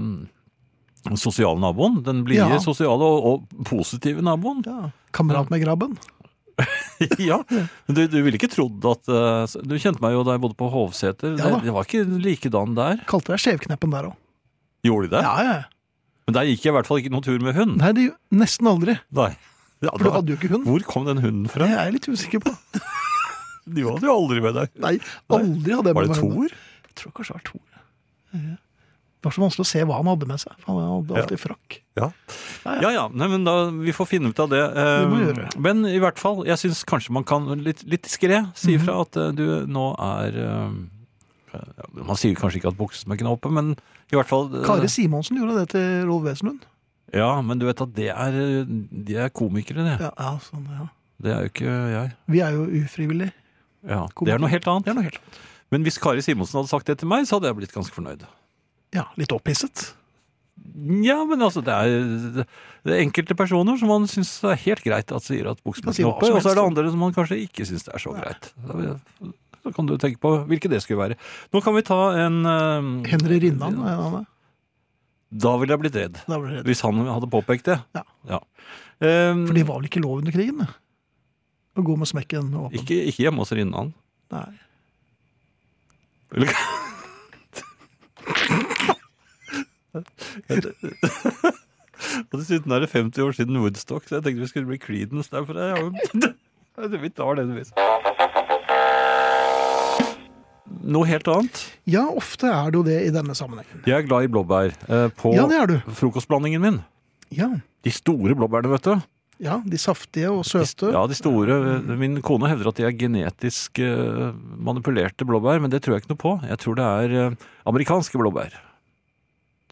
C: sosiale naboen. Den blide,
B: Ja.
C: sosiale og, og positive naboen.
B: Ja. Kamerat med grabben?
C: ja. Men Du, du ville ikke trodd at eh, Du kjente meg jo da jeg bodde på Hovseter.
B: Ja da.
C: det, det var ikke likedan der.
B: Kalte deg Skjevkneppen der òg.
C: Gjorde de det?
B: Ja, ja.
C: Men der gikk jeg i hvert fall ikke noen tur med hund.
B: Nei, det gjør- nesten aldri.
C: Nei. Ja,
B: For du
C: da-
B: hadde jo ikke hund.
C: Hvor kom den hunden
B: Det
C: fra?
B: er jeg litt usikker på.
C: De hadde jo aldri med deg.
B: Nei, aldri hadde jeg
C: Var
B: med meg
C: det
B: henne.
C: toer?
B: Jeg tror kanskje det var Tor. Ja. Det var så vanskelig å se hva han hadde med seg. for Han hadde alltid frakk.
C: Ja.
B: Ja, ja.
C: Ja, ja. Nei, men da, vi får finne ut av det. Eh,
B: Det må vi gjøre.
C: Men i hvert fall, jeg syns kanskje man kan litt, litt diskré si ifra at eh, du nå er eh, ja, Man sier kanskje ikke at buksesmekken er oppe, men i hvert fall eh,
B: Kari Simonsen gjorde det til Rolf Wesenlund.
C: Ja, men du vet at det er, eh, de er komikere, det.
B: Ja, ja, sånn, ja.
C: Det er jo ikke jeg.
B: Vi er jo ufrivillig.
C: Ja, det
B: Komikere.
C: er noe helt annet.
B: Det er noe helt annet.
C: Men hvis Kari Simonsen hadde sagt det til meg, så hadde jeg blitt ganske fornøyd.
B: Ja, litt opphisset.
C: Ja, men altså, det er, det er enkelte personer som man syns er helt greit at sier at
B: Kan
C: buksene
B: si hva
C: knopper,
B: som
C: og så er det
B: helst.
C: andre som man kanskje ikke syns det er så greit. Da, da kan du tenke på hvilke det skulle være. Nå kan vi ta en eh,
B: Henry Rinnan. er en annen.
C: Da ville jeg blitt redd.
B: Da ble det redd.
C: Hvis han hadde påpekt det.
B: Ja.
C: Eh,
B: For det var vel ikke lov under krigen? det? Å gå med smekken åpen?
C: ikke, ikke hjemme hos Rinnan.
B: Nei.
C: Eller- Og dessuten er det 50 år siden Woodstock, så jeg tenkte vi skulle bli Creedence der. For jeg har jo... Altså, Vi tar den hvis. Noe helt annet.
B: Ja, ofte er det jo det i denne sammenhengen.
C: Jeg er glad i blåbær eh, på
B: Ja, det er du.
C: frokostblandingen min.
B: Ja,
C: De store blåbærene, vet du.
B: ja De saftige og
C: De,
B: søte.
C: ja, de store. Min kone hevder at de er genetisk eh, manipulerte blåbær, men det tror jeg ikke noe på. Jeg tror det er eh, amerikanske blåbær.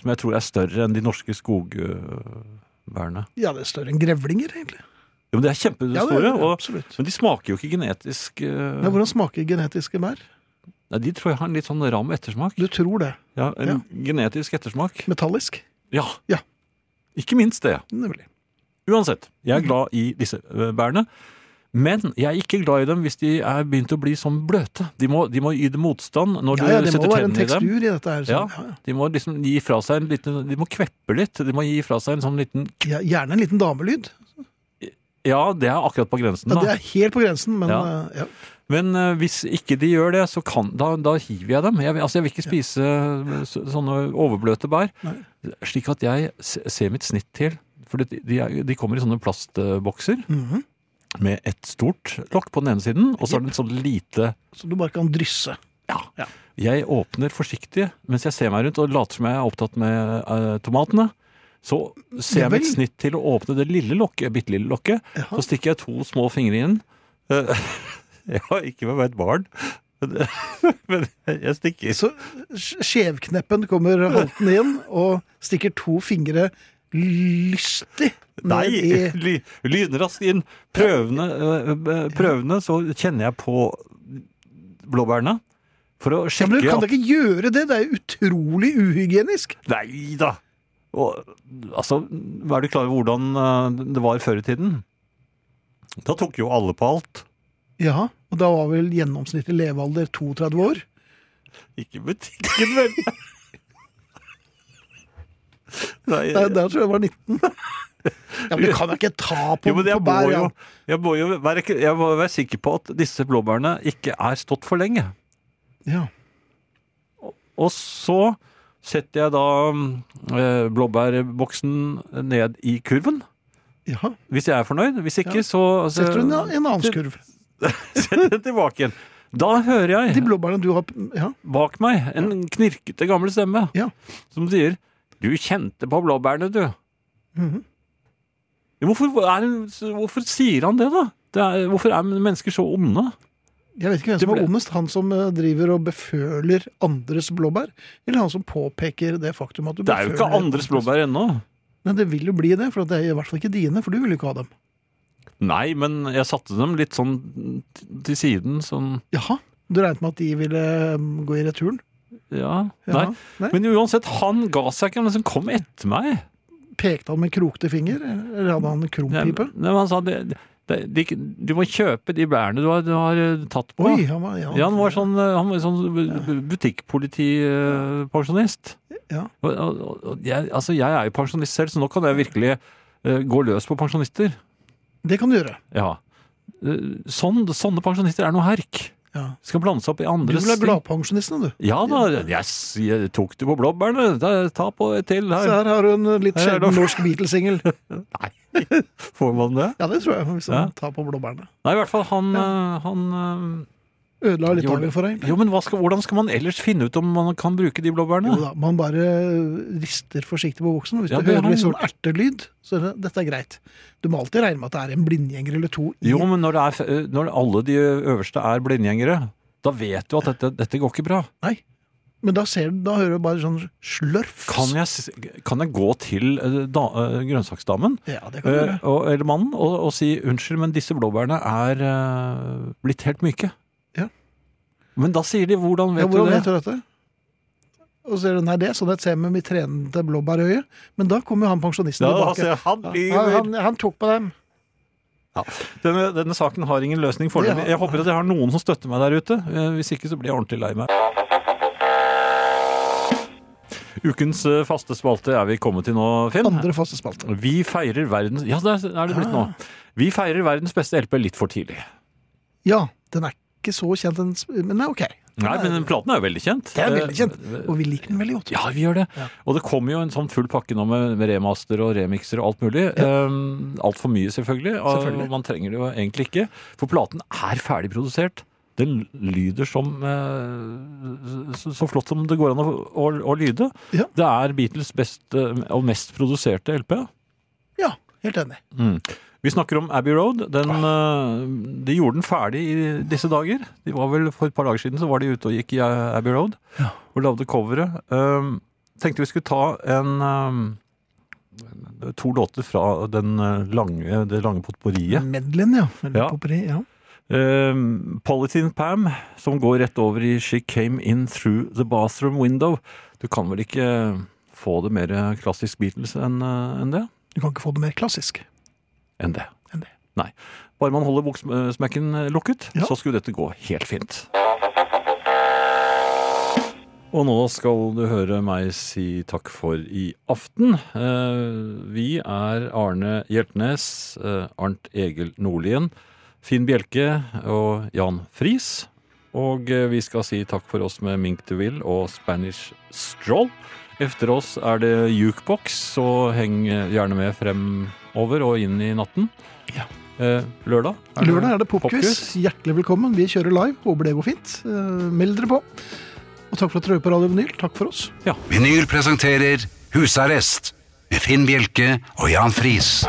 C: Som jeg tror er større enn de norske skogbærene.
B: Ja, det er større enn grevlinger, egentlig.
C: Jo, men
B: Ja, det
C: de er
B: er
C: kjempestore.
B: det,
C: og
B: absolutt.
C: Men de smaker jo ikke genetisk eh,
B: Ja, hvordan smaker genetiske bær?
C: Nei, De tror jeg har en litt sånn ram ettersmak.
B: Du tror det.
C: Ja, En genetisk ettersmak.
B: Metallisk.
C: Ja.
B: Ja.
C: Ikke minst det.
B: Nemlig.
C: Uansett, jeg er glad i disse eh, bærene. Men jeg er ikke glad i dem hvis de er begynt å bli sånn bløte. De må, de må yte motstand når
B: Ja, ja,
C: du
B: det må
C: setter
B: være en
C: tennene i dem.
B: tekstur i dette her.
C: Ja,
B: så- ja, ja.
C: de må liksom gi fra seg en liten De må kveppe litt. De må gi fra seg en sånn liten
B: Ja, gjerne en liten damelyd.
C: Ja, det er akkurat på grensen,
B: Ja, det
C: da.
B: er helt på grensen, men
C: Ja.
B: eh, ja.
C: Men eh, hvis ikke de gjør det, så kan, da, da hiver jeg dem. Jeg, vil- altså, jeg vil ikke spise eh, så, sånne overbløte bær.
B: Nei.
C: Slik at jeg se- ser mitt snitt til. For det- de, er- de kommer i sånne plastbokser
B: Mhm.
C: med et stort lokk på den ene siden, og så er det et sånn lite
B: Så du bare kan drysse. Ja.
C: Jeg åpner forsiktig mens jeg ser meg rundt og later som jeg er opptatt med eh, tomatene. Så ser jeg
B: Javel.
C: mitt snitt til å åpne det lille lokket, bitte lille lokket.
B: Jaha.
C: Så stikker jeg to små fingre inn. Eh, ja, ikke med et barn. Men, men jeg stikker
B: Så sk- skjevkneppen kommer haltende inn og stikker to fingre lystig ned i
C: Nei, ly, lynraskt inn. Prøvende, eh, eh, prøvende, så kjenner jeg på blåbærene. For å
B: ja,
C: sjekke
B: men Du kan da
C: at-
B: ikke gjøre det! Det er jo utrolig uhygienisk!
C: Nei da! Og, altså, er du klar over hvordan eh, det var før i tiden? Da tok jo alle på alt.
B: Ja, og da var vel gjennomsnittlig levealder 32 år.
C: Ikke butikken, vel? Nei,
B: Nei, der tror jeg det var 19. Ja, Men du kan da ikke ta på,
C: jo, men jeg
B: på
C: må
B: bær?
C: jo,
B: Ja.
C: jeg må jo være, jeg må være sikker på at disse blåbærene ikke er stått for lenge.
B: Ja.
C: Og så setter jeg da eh, blåbærboksen ned i kurven.
B: ja.
C: Hvis jeg er fornøyd. Hvis ikke,
B: Ja.
C: så altså,
B: Setter du en, en annen skurv?
C: setter den tilbake igjen. Da hører jeg
B: De blåbærene du har Ja.
C: bak meg en knirkete gammel stemme
B: Ja.
C: som sier Du kjente på blåbærene, du.
B: Mhm.
C: Hvorfor, er, hvorfor sier han det, da? Det er, hvorfor er mennesker så onde?
B: Jeg vet ikke hvem som
C: Det
B: er
C: ble-
B: ondest. Han som eh, driver og beføler andres blåbær, eller han som påpeker det faktum at du
C: Det er jo ikke
B: beføler
C: andres blåbær ennå.
B: Men det vil jo bli det, for det er i hvert fall ikke dine, for du vil jo ikke ha dem.
C: Nei, men jeg satte dem litt sånn til siden, sånn
B: Jaha, du regnet med at de ville mm, gå i returen?
C: Ja,
B: Ja,
C: nei. Men uansett, han ga seg ikke, han liksom kom etter meg.
B: Pekte han med krokte finger, eller hadde han krum
C: Nei,
B: pipe?
C: men han sa det, det, de, du må kjøpe de bærene du har, du har eh, tatt på.
B: Oi, han var, ja.
C: Ja, han var sånn, eh, han var sånn bu- bu- butikkpolitipensjonist.
B: Ja.
C: Og- og- og- og Jeg, altså, jeg er jo pensjonist selv, så nå kan jeg virkelig eh, gå løs på pensjonister.
B: Det kan du gjøre.
C: Ja. Eh, Sånn, sånne pensjonister er noe herk.
B: Ja.
C: Skal blande seg opp i
B: Du
C: andres
B: vil være
C: ting.
B: gladpensjonisten, du.
C: Ja da, yes, jeg tok du på blåbærene? Da, Ta på et til
B: Så her
C: her.
B: har du en uh, litt
C: Her er det-
B: sjelden norsk Beatles-singel.
C: Får man det?
B: Ja, det tror jeg, hvis han
C: Ja.
B: tar på blåbærene.
C: Nei, i hvert fall han, eh, han eh,
B: Ødela litt
C: Gjorde-
B: dagen for deg.
C: Jo, men hva skal, hvordan skal man ellers finne ut om man kan bruke de
B: Jo
C: blåbærene?
B: da, man bare uh, rister forsiktig på buksen. og Hvis
C: Ja,
B: du
C: det har
B: hører litt
C: han
B: sånn ertelyd, så er det, dette er greit. Du må alltid regne med at det er en blindgjenger eller to i
C: Jo, men når, det er, f- når alle de øverste er blindgjengere, da vet du at dette, dette går ikke bra.
B: Nei. Men da, ser, du- da hører du bare sånn slørf.
C: Kan jeg, s- kan jeg gå til eh, da, eh, grønnsaksdamen
B: Ja, det kan du
C: eh,
B: gjøre.
C: og, eller mannen og, og si unnskyld, men disse blåbærene er eh, blitt helt myke?
B: Ja.
C: Men da sier de hvordan
B: Ja,
C: vet
B: hvordan
C: du
B: vet
C: det?
B: du dette? Og så er det, nei, det er sånn jeg ser med mitt trenende blåbærøye. Men da kommer jo han pensjonisten tilbake.
C: altså, han
B: Ja, han, han tok på dem.
C: Denne, denne saken har ingen løsning
B: Det
C: foreløpig.
B: har-
C: Jeg håper at jeg har noen som støtter meg der ute. Eh, Hvis ikke så blir jeg ordentlig lei meg. Ukens eh, faste spalte er vi kommet til nå, Finn.
B: Andre faste spalte.
C: Vi feirer verdens Ja, der er det blitt nå.
B: Ah.
C: Vi feirer verdens beste LP litt for tidlig.
B: Ja, den er ikke så kjent, den sp- men den er ok.
C: Nei, men den platen er jo veldig kjent.
B: Det er veldig kjent,
C: Eh,
B: og vi liker den veldig godt.
C: Ja, vi gjør det. Og det kommer jo en sånn full pakke nå med med remaster og remixer og alt mulig. Um, alt for mye, selvfølgelig. Og
B: Selvfølgelig.
C: man trenger det jo egentlig ikke. For platen er ferdig produsert. Den lyder som eh, så, så flott som det går an å, å, å lyde.
B: Ja.
C: Det er Beatles best eh, og mest produserte LP.
B: Ja, helt enig.
C: Vi snakker om Abbey Road. Den, eh, de gjorde den ferdig i disse dager. De var vel For et par dager siden så var de ute og gikk i eh, Abbey Road og lagde coveret. Um, tenkte vi skulle ta en um, to låter fra den eh, lange, det lange potporiet.
B: Medlin, ja. Eller
C: Ja.
B: Poperi, ja.
C: Um, Politin Pam, som går rett over i She Came In Through The Bathroom Window. Du kan vel ikke få det mer klassisk Beatles enn eh, enn det?
B: Du kan ikke få det mer klassisk
C: Enn det.
B: enn det.
C: Nei. Bare man holder buksmekken eh, lukket,
B: Ja.
C: så skulle dette gå helt fint. Og nå skal du høre meg si takk for i aften. Eh, Vi er Arne Hjeltnes, eh, Arnt Egil Nordlien, Finn Bjelke og Jan Friis. Og eh, vi skal si takk for oss med Mink du vil og Spanish Stroll. Efter oss er det jukebox, så heng gjerne med fremover og inn i natten.
B: Ja.
C: Eh, lørdag? er det-
B: Lørdag er det popquiz. Hjertelig velkommen. Vi kjører live. Håper det går fint. Eh, Meld dere på. Og takk for at dere hører på Radio Vinyl. Takk for oss.
A: Vinyl presenterer Husarrest med Finn Bjelke og Jan Friis.